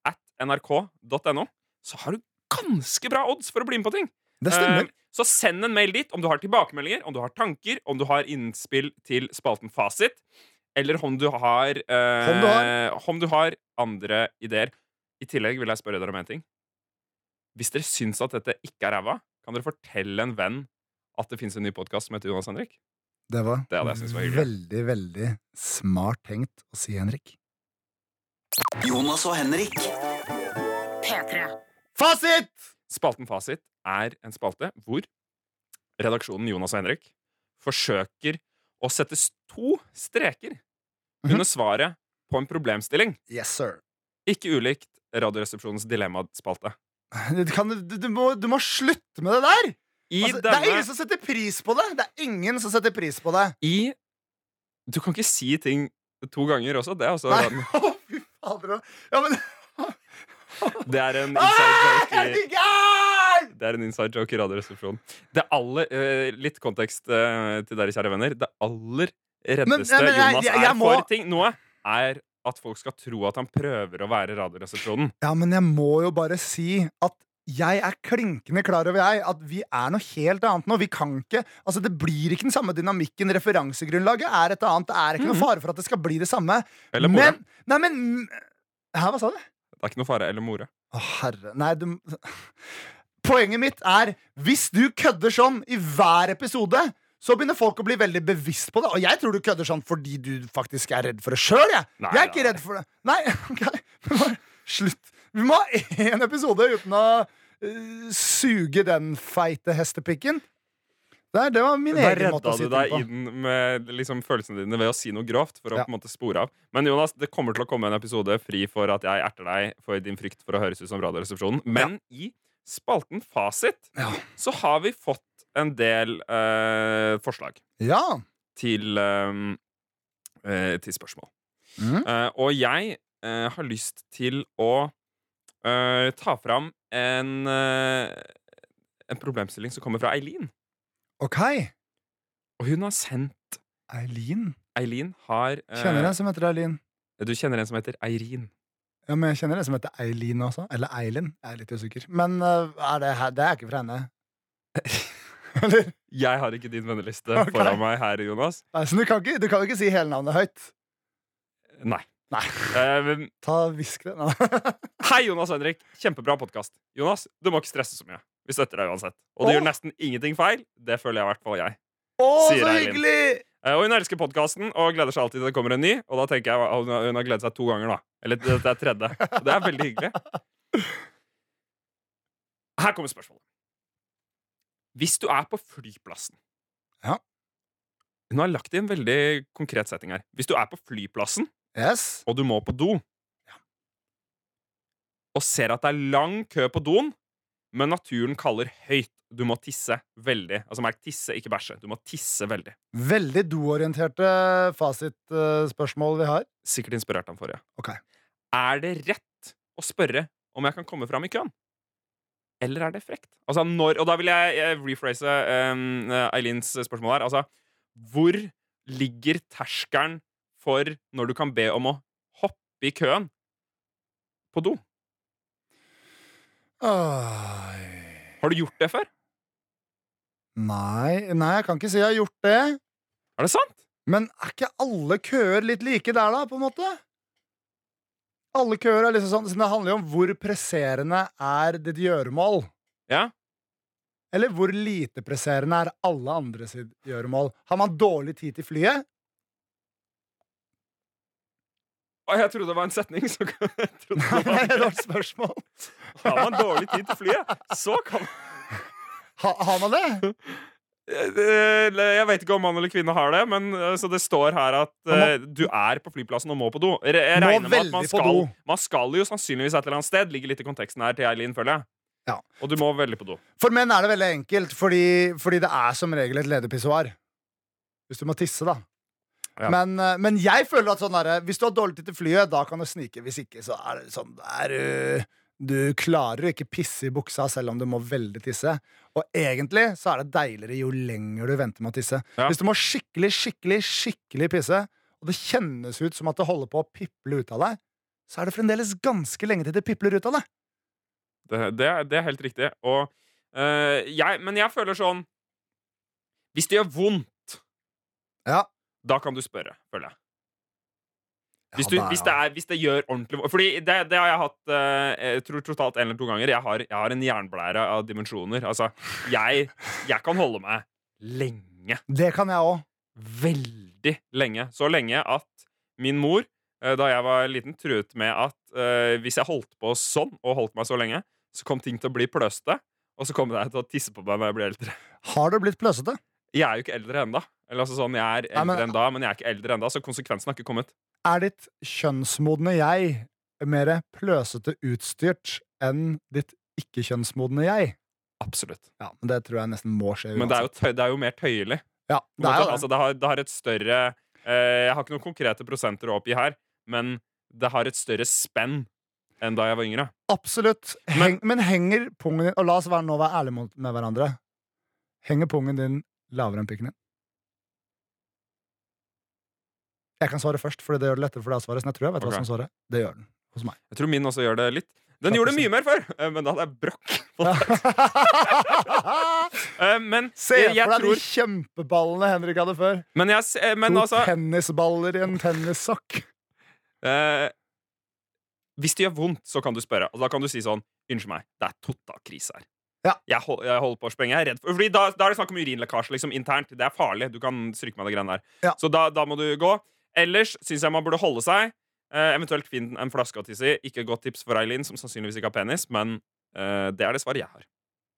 Speaker 3: at nrk.no, så har du ganske bra odds for å bli med på ting.
Speaker 2: Det stemmer.
Speaker 3: Eh, Så send en mail dit om du har tilbakemeldinger, om du har tanker, om du har innspill til spalten Fasit, eller om du har, eh,
Speaker 2: Om du
Speaker 3: om du har andre ideer. I tillegg vil jeg spørre dere om en ting. Hvis dere syns at dette ikke er ræva, kan dere fortelle en venn at det fins en ny podkast som heter Jonas Henrik?
Speaker 2: det var,
Speaker 3: det hadde jeg syntes var hyggelig.
Speaker 2: veldig, veldig smart tenkt å si, Henrik.
Speaker 1: Jonas og Henrik
Speaker 9: P3.
Speaker 2: Fasit!
Speaker 3: Spalten Fasit er en spalte hvor redaksjonen Jonas og Henrik forsøker å sette s- to streker under
Speaker 2: Mhm.
Speaker 3: svaret på en problemstilling.
Speaker 2: Yes, sir.
Speaker 3: Ikke ulikt Radioresepsjonens dilemmaspalte.
Speaker 2: Du, kan, du, du, må, du må slutte med det der!
Speaker 3: I
Speaker 2: Altså, Det er
Speaker 3: denne
Speaker 2: ingen som setter pris på det! Det er ingen som setter pris på det.
Speaker 3: I Du kan ikke si ting to ganger også. Det er, altså også,
Speaker 2: Nei, [LAUGHS] å, fy fader. Ja, men
Speaker 3: [LAUGHS] det er en
Speaker 2: [LAUGHS] ah,
Speaker 3: inside
Speaker 2: er
Speaker 3: joke.
Speaker 2: du
Speaker 3: i-
Speaker 2: gæren?!
Speaker 3: Det er en inside joke i Radioresepsjonen. Det aller eh, Litt kontekst eh, til dere, kjære venner. Det aller
Speaker 2: Men-
Speaker 3: reddeste
Speaker 2: nei, men jeg-
Speaker 3: Jonas
Speaker 2: jeg-
Speaker 3: er
Speaker 2: jeg må-
Speaker 3: for ting nå, er at folk skal tro at han prøver å være Radioresepsjonen.
Speaker 2: Ja, men jeg må jo bare si at jeg er klinkende klar over jeg, at vi er noe helt annet nå. Vi kan ikke, altså Det blir ikke den samme dynamikken. Referansegrunnlaget er et annet. Det er ikke noe fare for at det skal bli det samme.
Speaker 3: Eller more.
Speaker 2: Men, nei, men Hæ, hva sa du?
Speaker 3: Det er ikke noe fare. Eller more.
Speaker 2: Å, herre Nei, du [LAUGHS] Poenget mitt er hvis du kødder sånn i hver episode, så begynner folk å bli veldig bevisst på det. Og jeg tror du kødder sånn fordi du faktisk er redd for det sjøl, jeg.
Speaker 3: Nei,
Speaker 2: jeg er ikke
Speaker 3: nei.
Speaker 2: redd for det. Nei, [LAUGHS] ok. Men bare Slutt. Vi må ha én episode uten å eh, suge den feite hestepikken. Der, det var min
Speaker 3: Da
Speaker 2: egen måte å
Speaker 3: redda
Speaker 2: si
Speaker 3: du
Speaker 2: ting
Speaker 3: deg
Speaker 2: på.
Speaker 3: inn med liksom, følelsene dine ved å si noe grovt. For å
Speaker 2: Ja.
Speaker 3: på en måte spore av Men Jonas, det kommer til å komme en episode fri for at jeg erter deg for din frykt for å høres ut som Radioresepsjonen. Men i spalten Fasit
Speaker 2: Ja.
Speaker 3: så har vi fått en del eh, forslag
Speaker 2: Ja.
Speaker 3: til, ehm, eh, til spørsmål.
Speaker 2: Mhm.
Speaker 3: Eh, og jeg eh, har lyst til å eh, ta fram en, eh, en problemstilling som kommer fra Eileen.
Speaker 2: OK.
Speaker 3: Og hun har sendt
Speaker 2: Eileen.
Speaker 3: Eileen har eh,
Speaker 2: Kjenner en som heter Eileen.
Speaker 3: Du kjenner en som heter Eirin.
Speaker 2: Ja, men jeg kjenner en som heter Eileen også. Eller Eilin. Jeg er litt usikker. Men eh, er det, her, det er ikke fra [LAUGHS] henne. Eller?
Speaker 3: Jeg har ikke din venneliste
Speaker 2: Ok.
Speaker 3: foran meg her, Jonas.
Speaker 2: Nei, så du kan ikke, du kan jo ikke si hele navnet høyt.
Speaker 3: Nei.
Speaker 2: Nei.
Speaker 3: Eh, men-
Speaker 2: Ta Hvisk det. Nei.
Speaker 3: hei, Jonas og Henrik. Kjempebra podkast. Jonas, du må ikke stresse så mye. Vi støtter deg uansett. Og
Speaker 2: Åh.
Speaker 3: du gjør nesten ingenting feil. Det føler jeg i hvert fall jeg.
Speaker 2: [LAUGHS] Å,
Speaker 3: Sier
Speaker 2: så
Speaker 3: Eileen.
Speaker 2: hyggelig!
Speaker 3: Eh, Og hun elsker podkasten og gleder seg alltid til det kommer en ny. Og da tenker jeg at hun har- hun har gledet seg to ganger, da. Eller det det er tredje. Og det er veldig hyggelig. Her kommer spørsmålet. Hvis du er på flyplassen
Speaker 2: Ja.
Speaker 3: Hun har lagt i en veldig konkret setting her. Hvis du er på flyplassen,
Speaker 2: Yes.
Speaker 3: og du må på do, og ser at det er lang kø på doen, men naturen kaller høyt Du må tisse veldig. Altså merk tisse, ikke bæsje. Du må tisse veldig.
Speaker 2: Veldig doorienterte fasitspørsmål vi har.
Speaker 3: sikkert inspirert av den forrige.
Speaker 2: Ok.
Speaker 3: Er det rett å spørre om jeg kan komme fram i køen? Eller er det frekt? Altså, når, og da vil jeg eh, rephrase em, eh, Eilins spørsmål her. Altså, hvor ligger terskelen for når du kan be om å hoppe i køen på do?
Speaker 2: Oi.
Speaker 3: Har du gjort det før?
Speaker 2: Nei, nei, jeg kan ikke si jeg har gjort det.
Speaker 3: Er det sant?
Speaker 2: Men er ikke alle køer litt like der, da, på en måte? Alle køer er liksom sånn siden Det handler jo om hvor presserende er ditt gjøremål.
Speaker 3: Ja.
Speaker 2: Eller hvor lite presserende er alle andre sitt gjøremål. Har man dårlig tid til flyet? [LAUGHS]
Speaker 3: Å, jeg trodde det var en setning. Så [LAUGHS] jeg trodde
Speaker 2: Nei, [LAUGHS] det
Speaker 3: det
Speaker 2: var
Speaker 3: var.
Speaker 2: et spørsmål.
Speaker 3: Har man dårlig tid til flyet, så kan
Speaker 2: Ha, har man det?
Speaker 3: Eh, Jeg vet ikke om mann eller kvinne har det, men eh, så det står her at eh, du er på flyplassen og må på do. Re- Jeg
Speaker 2: Må
Speaker 3: regner med at man
Speaker 2: veldig på
Speaker 3: skal,
Speaker 2: do.
Speaker 3: man skal jo sannsynligvis et eller annet sted. Ligger litt i konteksten her til Eileen, føler jeg.
Speaker 2: Ja.
Speaker 3: Og du må veldig på do.
Speaker 2: For menn er det veldig enkelt, fordi, fordi det er som regel et ledig pissoar. Hvis du må tisse, da.
Speaker 3: Ja.
Speaker 2: Men, eh, men jeg føler at sånn derre hvis du har dårlig tid til flyet, da kan du snike. Hvis ikke, så er det sånn der eh, Du klarer å ikke pisse i buksa selv om du må veldig tisse. Og egentlig så er det deiligere jo lenger du venter med å tisse.
Speaker 3: Ja.
Speaker 2: Hvis du må skikkelig, skikkelig, skikkelig pisse, og det kjennes ut som at det holder på å piple ut av deg, så er det fremdeles ganske lenge til det pipler ut av deg.
Speaker 3: Det, det, det er helt riktig. Og, eh, jeg, men jeg føler sånn Hvis det gjør vondt,
Speaker 2: Ja.
Speaker 3: da kan du spørre, føler jeg. Hvis,
Speaker 2: Ja,
Speaker 3: du,
Speaker 2: da-
Speaker 3: hvis, det, er, hvis det gjør ordentlig vondt Fordi det, det har jeg hatt eh, jeg tror totalt en eller to ganger. Jeg har, jeg har en jernblære av dimensjoner. Altså, jeg, jeg kan holde meg lenge.
Speaker 2: Det kan jeg òg.
Speaker 3: Veldig lenge. Så lenge at min mor, eh, da jeg var liten, truet med at eh, hvis jeg holdt på sånn og holdt meg så lenge, så kom ting til å bli pløsete, og så kommer jeg til å tisse på meg når jeg blir eldre.
Speaker 2: Har du blitt pløsete?
Speaker 3: Jeg er jo ikke eldre ennå. Eller altså sånn, jeg er
Speaker 2: Nei,
Speaker 3: eldre
Speaker 2: men-
Speaker 3: enn da, men jeg er ikke eldre ennå, så konsekvensen har ikke kommet.
Speaker 2: Er ditt kjønnsmodne jeg mer pløsete utstyrt enn ditt ikke-kjønnsmodne jeg?
Speaker 3: Absolutt.
Speaker 2: Ja, men Det tror jeg nesten må skje.
Speaker 3: Men det er
Speaker 2: uansett.
Speaker 3: jo, tøy, det er jo mer tøyelig.
Speaker 2: ja,
Speaker 3: Det,
Speaker 2: det er jo det.
Speaker 3: altså, det, har, det har et større eh, Jeg har ikke noen konkrete prosenter å oppgi her, men det har et større spenn enn da jeg var yngre.
Speaker 2: Absolutt. Heng, men, henger pungen din Og la oss være, nå være ærlige mot- med hverandre. Henger pungen din lavere enn pikken din? Jeg kan svare først, for det gjør det lettere for deg å svare. Så jeg tror jeg vet
Speaker 3: Ok.
Speaker 2: hva som svarer. Det gjør den. Hos
Speaker 3: [LAUGHS]
Speaker 2: meg.
Speaker 3: Jeg tror min også gjør det litt. Den gjorde det mye mer før, eh, men da hadde jeg brokk. på det. Eh, Men
Speaker 2: Se
Speaker 3: jeg, jeg
Speaker 2: for deg de
Speaker 3: tror
Speaker 2: kjempeballene Henrik hadde før.
Speaker 3: Men, jeg, s- eh, men
Speaker 2: to
Speaker 3: altså
Speaker 2: tennisballer i en tennissokk.
Speaker 3: eh, Hvis det gjør vondt, så kan du spørre. Og da kan du si sånn Unnskyld meg, det er total krise her.
Speaker 2: Ja.
Speaker 3: Jeg, hol- jeg holder på å sprenge. Jeg er redd for Fordi da, da er det snakk om urinlekkasje liksom, internt. Det er farlig. Du kan stryke meg det greiene der.
Speaker 2: Ja.
Speaker 3: Så da, da må du gå. Ellers syns jeg man burde holde seg. Eh, eventuelt finn en flaske å tisse i. Ikke et godt tips for Eileen, som sannsynligvis ikke har penis, men eh, det er det svaret jeg har.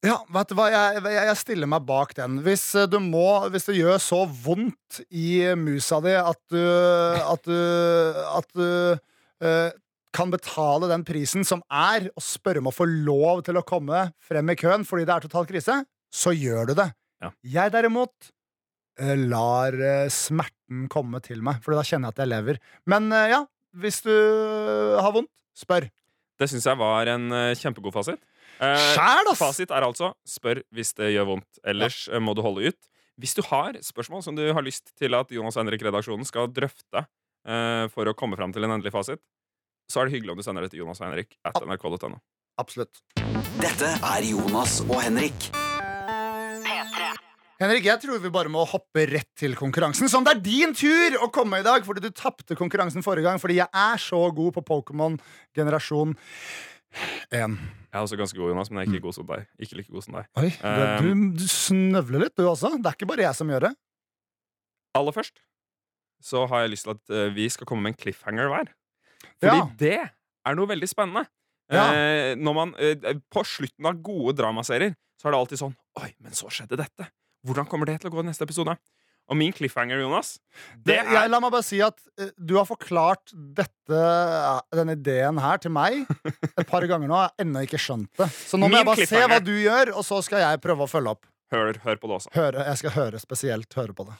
Speaker 2: Ja, vet du hva, jeg, jeg, jeg stiller meg bak den. Hvis eh, du må Hvis det gjør så vondt i musa di at du At du, at du eh, kan betale den prisen som er å spørre om å få lov til å komme frem i køen fordi det er total krise, så gjør du det.
Speaker 3: Ja.
Speaker 2: Jeg derimot eh, lar eh, smerten komme til meg, for da kjenner jeg at jeg lever. Men eh, ja, hvis du har vondt, spør.
Speaker 3: Det syns jeg var en eh, kjempegod fasit. Eh,
Speaker 2: Skjæl, ass!
Speaker 3: Fasit er altså spør hvis det gjør vondt. Ellers eh, må du holde ut. Hvis du har spørsmål som du har lyst til at Jonas og Henrik-redaksjonen skal drøfte eh, for å komme fram til en endelig fasit, så er det hyggelig om du sender det til Jonas og Henrik at nrk.no.
Speaker 2: Absolutt.
Speaker 1: Dette er Jonas og Henrik.
Speaker 2: Henrik, jeg tror vi bare må hoppe rett til konkurransen. Som det er din tur å komme i dag, fordi du tapte konkurransen forrige gang. Fordi jeg er så god på Pokémon generasjon 1.
Speaker 3: Jeg er også ganske god, Jonas, men jeg er ikke god som deg. Ikke like god som deg.
Speaker 2: Oi, du, du, du snøvler litt, du også. Det er ikke bare jeg som gjør det.
Speaker 3: Aller først så har jeg lyst til at eh, vi skal komme med en cliffhanger hver. Fordi
Speaker 2: Ja.
Speaker 3: det er noe veldig spennende.
Speaker 2: Ja.
Speaker 3: Eh, når man, eh, på slutten av gode dramaserier så er det alltid sånn Oi, men så skjedde dette. Hvordan kommer det til å gå i neste episode? Og min cliffhanger, Jonas, det er
Speaker 2: jeg, la meg bare si at eh, du har forklart dette, eh, denne ideen her til meg et par ganger nå. Jeg har ennå ikke skjønt det. Så nå
Speaker 3: Min
Speaker 2: må jeg bare se
Speaker 3: cliffhanger.
Speaker 2: hva du gjør, og så skal jeg prøve å følge opp.
Speaker 3: hør, hør på det også.
Speaker 2: Høre, jeg skal høre spesielt høre på det.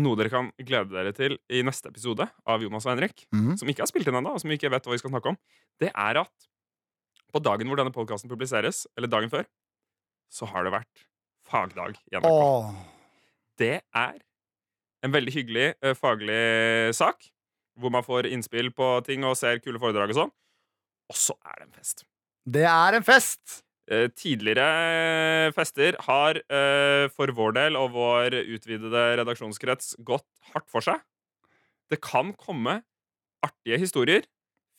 Speaker 3: Noe dere kan glede dere til i neste episode av Jonas og Henrik,
Speaker 2: Mhm.
Speaker 3: som ikke har spilt inn ennå, og som vi ikke vet hva vi skal snakke om, det er at på dagen hvor denne podkasten publiseres, eller dagen før, så har det vært fagdag i NRK.
Speaker 2: Åh.
Speaker 3: det er en veldig hyggelig eh, faglig sak, hvor man får innspill på ting og ser kule foredrag og sånn. Og så er det en fest.
Speaker 2: Det er en fest!
Speaker 3: Eh, Tidligere fester har eh, for vår del og vår utvidede redaksjonskrets gått hardt for seg. Det kan komme artige historier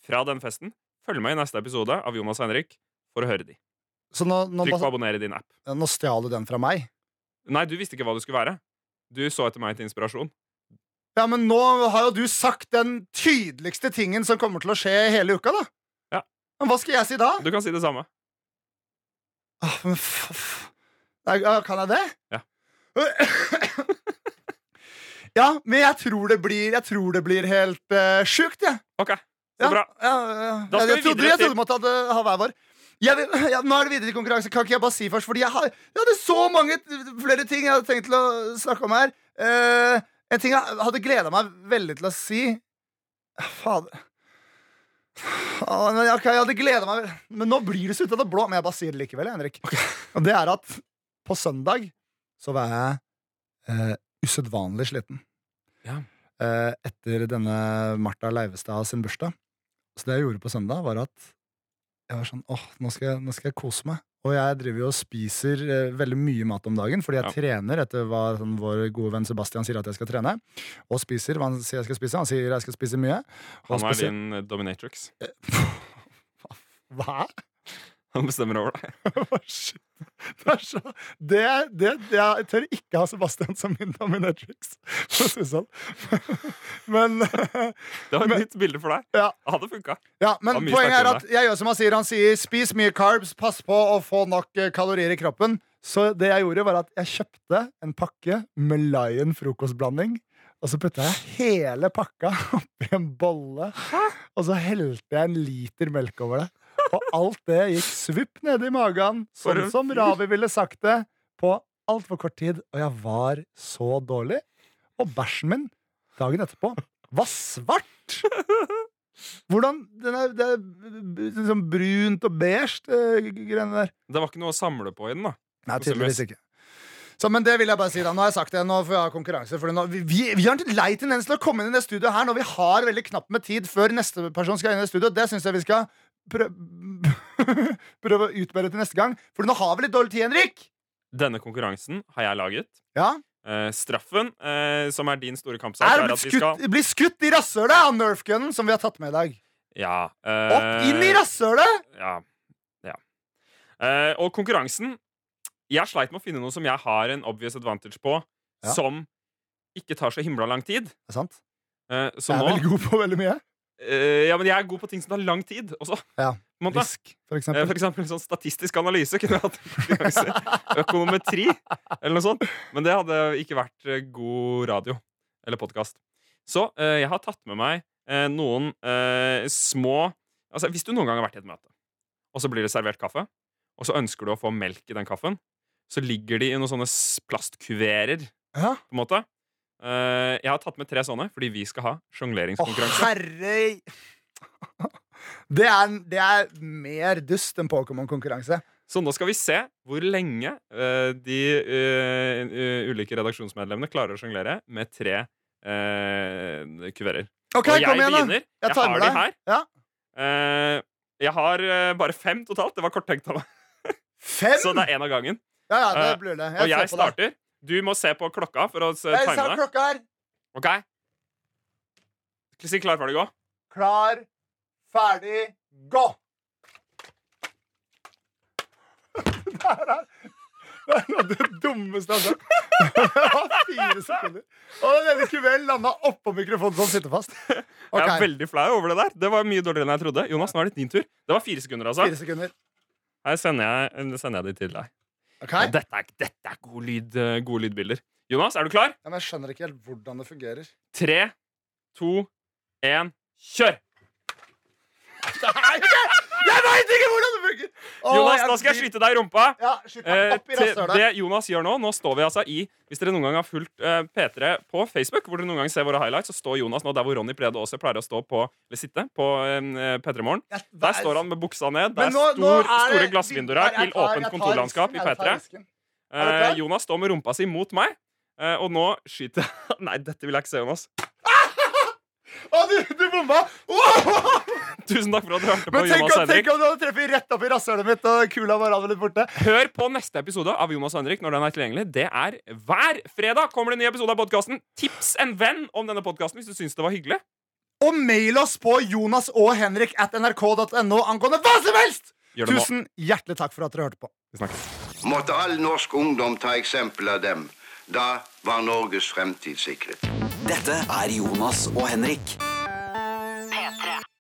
Speaker 3: fra den festen. Følg med i neste episode av Jonas og Henrik for å høre de.
Speaker 2: Så nå, nå,
Speaker 3: Trykk på abonner i din app.
Speaker 2: Ja, Nå stjal du den fra meg.
Speaker 3: Nei, du visste ikke hva du skulle være. Du så etter meg til inspirasjon.
Speaker 2: Ja, men nå har jo du sagt den tydeligste tingen som kommer til å skje hele uka, da.
Speaker 3: Ja.
Speaker 2: Men hva skal jeg si da?
Speaker 3: Du kan si det samme.
Speaker 2: Ah, men f f Nei, ja, kan jeg det?
Speaker 3: Ja.
Speaker 2: [LAUGHS] ja, men jeg tror det blir Jeg tror det blir helt eh, sjukt, jeg.
Speaker 3: OK, så
Speaker 2: Ja,
Speaker 3: bra.
Speaker 2: Ja, ja.
Speaker 3: Da skal
Speaker 2: Jeg, jeg
Speaker 3: vi
Speaker 2: trodde,
Speaker 3: videre
Speaker 2: jeg
Speaker 3: til-
Speaker 2: trodde vi måtte ha- ha hver vår. Jeg vil, ja, nå er det videre til konkurranse. Kan ikke jeg bare si først? Fordi jeg, har, jeg hadde så mange t- flere ting jeg hadde tenkt til å snakke om her. Eh, en ting jeg hadde gleda meg veldig til å si Fader. Ah, men ok, jeg hadde gleda meg Men nå blir det så ut av det blå. Men jeg bare sier det likevel, jeg, Henrik. Og det er at på søndag så var jeg eh, usedvanlig sliten.
Speaker 3: Ja.
Speaker 2: Eh, etter denne Martha Leivestad sin bursdag. Så det jeg gjorde på søndag, var at jeg var sånn åh, nå skal jeg, nå skal jeg kose meg. Og jeg driver jo og spiser eh, veldig mye mat om dagen, fordi jeg trener etter hva sånn, vår gode venn Sebastian sier at jeg skal trene. Og spiser hva han sier jeg skal spise. Han sier jeg skal spise mye. Og
Speaker 3: Han er eh,
Speaker 2: spesielt-
Speaker 3: din eh, dominatrix.
Speaker 2: Hva?
Speaker 3: [LAUGHS] Han bestemmer over deg.
Speaker 2: Hva shit? Det er så det, det, Jeg tør ikke ha Sebastian som min dominatrix, for å si det sånn. [LAUGHS] Men, [LAUGHS]
Speaker 3: Det var et nytt bilde for deg.
Speaker 2: ja,
Speaker 3: Det hadde funka.
Speaker 2: ja, men
Speaker 3: Det var mye
Speaker 2: poenget er
Speaker 3: sterkere
Speaker 2: at jeg gjør som han sier. Han sier spis mye carbs, pass på å få nok eh, kalorier i kroppen. Så det jeg gjorde, var at jeg kjøpte en pakke med Lion frokostblanding. Og så putta jeg hele pakka oppi en bolle, og så helte jeg en liter melk over det. Og alt det gikk svupp nede i magen,
Speaker 3: For
Speaker 2: sånn
Speaker 3: en
Speaker 2: som
Speaker 3: fyr.
Speaker 2: Ravi ville sagt det, på altfor kort tid. Og jeg var så dårlig. Og bæsjen min dagen etterpå var svart! Hvordan den er, Det er b- b- sånn brunt og beige, det greiene der.
Speaker 3: Det var ikke noe å samle på i den. da
Speaker 2: Nei,
Speaker 3: Og så
Speaker 2: tydeligvis ikke. Så, men det vil jeg bare si da. Nå har jeg sagt det, nå får jeg ha konkurranse. For nå, vi, vi, vi har en lei tendens til å komme inn i det studioet her når vi har veldig knapt med tid før neste person skal inn i det studioet. Det syns jeg vi skal prøve, [LAUGHS] prøve å utbedre til neste gang. For nå har vi litt dårlig tid, Henrik!
Speaker 3: Denne konkurransen har jeg laget.
Speaker 2: Ja.
Speaker 3: Eh, straffen, eh, som er din store kampsak,
Speaker 2: Er
Speaker 3: er,
Speaker 2: å bli
Speaker 3: at vi skal
Speaker 2: skutt, bli skutt i rasshølet av Nerf-gunnen som vi har tatt med i dag.
Speaker 3: Ja.
Speaker 2: Opp
Speaker 3: eh,
Speaker 2: inn i rasshølet!
Speaker 3: Ja. ja. Eh, og konkurransen Jeg sleit med å finne noe som jeg har en obvious advantage på,
Speaker 2: Ja.
Speaker 3: som ikke tar så himla lang tid.
Speaker 2: Det er sant.
Speaker 3: Eh,
Speaker 2: Jeg
Speaker 3: så
Speaker 2: er
Speaker 3: nå
Speaker 2: veldig god på veldig mye.
Speaker 3: eh, Ja, men jeg er god på ting som tar lang tid også.
Speaker 2: Ja.
Speaker 3: På en måte.
Speaker 2: Risk, for
Speaker 3: Eh,
Speaker 2: eksempel.
Speaker 3: For eksempel sånn statistisk analyse kunne jeg hatt konkurranse. Økonometri eller noe sånt. Men det hadde ikke vært eh, god radio eller podkast. Så eh, jeg har tatt med meg eh, noen eh, små Altså Hvis du noen gang har vært i et møte, og så blir det servert kaffe, og så ønsker du å få melk i den kaffen, så ligger de i noen sånne s- plastkuverer,
Speaker 2: Ja.
Speaker 3: på en måte. Eh, jeg har tatt med tre sånne fordi vi skal ha
Speaker 2: Å,
Speaker 3: sjongleringskonkurranse.
Speaker 2: herre [LAUGHS] det er, det er mer dust enn Pokémon-konkurranse.
Speaker 3: Så nå skal vi se hvor lenge eh, de eh, eh, ulike redaksjonsmedlemmene klarer å sjonglere med tre eh, kuverer.
Speaker 2: OK,
Speaker 3: Og jeg
Speaker 2: kom igjen, da!
Speaker 3: begynner. Jeg,
Speaker 2: tar med
Speaker 3: har de
Speaker 2: deg.
Speaker 3: her.
Speaker 2: Ja.
Speaker 3: Eh, jeg har eh, bare fem totalt. Det var korttenkt av meg.
Speaker 2: Fem!
Speaker 3: Så det er én av gangen.
Speaker 2: Ja, ja, det
Speaker 3: Eh,
Speaker 2: blir det.
Speaker 3: Og jeg
Speaker 2: ser på deg.
Speaker 3: starter. Du må se på klokka for å se
Speaker 2: Jeg
Speaker 3: time
Speaker 2: ser
Speaker 3: deg.
Speaker 2: klokka her.
Speaker 3: Ok? Si klar, ferdig, gå.
Speaker 2: Klar, ferdig, gå! [LAUGHS] Det her er det er noe av det dummeste jeg har sagt. Det var fire sekunder. Og den ene kuvelen landa oppå mikrofonen, så den sitter fast. [LAUGHS] OK.
Speaker 3: Jeg er veldig flau over det der. Det var mye dårligere enn jeg trodde. Jonas, nå er det din tur. Det var fire sekunder, altså.
Speaker 2: Fire sekunder.
Speaker 3: Her sender jeg, sender jeg de til deg.
Speaker 2: OK?
Speaker 3: Og Dette er, dette er god lyd, eh, gode lydbilder. Jonas, er du klar?
Speaker 2: Ja, men jeg skjønner ikke helt hvordan det fungerer.
Speaker 3: Tre, to, én, kjør!
Speaker 2: Jeg veit ikke hvordan det funker! Åh,
Speaker 3: Jonas,
Speaker 2: jeg
Speaker 3: da skal jeg
Speaker 2: blir-
Speaker 3: skyte deg i rumpa.
Speaker 2: Ja, skyt meg
Speaker 3: Eh,
Speaker 2: opp i
Speaker 3: til
Speaker 2: rasshølet.
Speaker 3: det Jonas gjør nå, nå står vi altså i Hvis dere noen gang har fulgt eh, P3 på Facebook, hvor dere noen gang ser våre highlights, så står Jonas nå der hvor Ronny Brede også pleier å stå på, eller sitte på eh, P3 Morgen.
Speaker 2: Jeg-
Speaker 3: Der står han med buksa ned. Det
Speaker 2: Men
Speaker 3: er
Speaker 2: nå- nå
Speaker 3: stor,
Speaker 2: er
Speaker 3: store
Speaker 2: det-
Speaker 3: glassvinduer
Speaker 2: Nei,
Speaker 3: her
Speaker 2: jeg
Speaker 3: til
Speaker 2: tar- jeg
Speaker 3: åpent
Speaker 2: tar
Speaker 3: kontorlandskap
Speaker 2: risken,
Speaker 3: i
Speaker 2: jeg tar
Speaker 3: P3.
Speaker 2: risken. du
Speaker 3: Eh,
Speaker 2: klar?
Speaker 3: Jonas står med rumpa si mot meg, eh, og nå skyter jeg [LAUGHS] Nei, dette vil jeg ikke se, Jonas.
Speaker 2: Å, du, du bomma! Wow!
Speaker 3: Tusen takk for at du hørte på
Speaker 2: Men tenk om,
Speaker 3: Jonas og Henrik.
Speaker 2: tenk om du hadde treffet rett opp i rasshølet mitt, og kula var av og litt borte.
Speaker 3: Hør på neste episode av Jonas og Henrik når den er tilgjengelig. Det er hver fredag kommer det en ny episode av podkasten. Tips en venn om denne podkasten hvis du syns det var hyggelig.
Speaker 2: Og mail oss på jonas og henrik at nrk.no angående hva som helst!
Speaker 3: Gjør det nå.
Speaker 2: Tusen hjertelig takk for at dere hørte på.
Speaker 3: Vi snakkes.
Speaker 9: Måtte all norsk ungdom ta eksempel av dem. Da var Norges fremtid sikret.
Speaker 1: Dette er Jonas og Henrik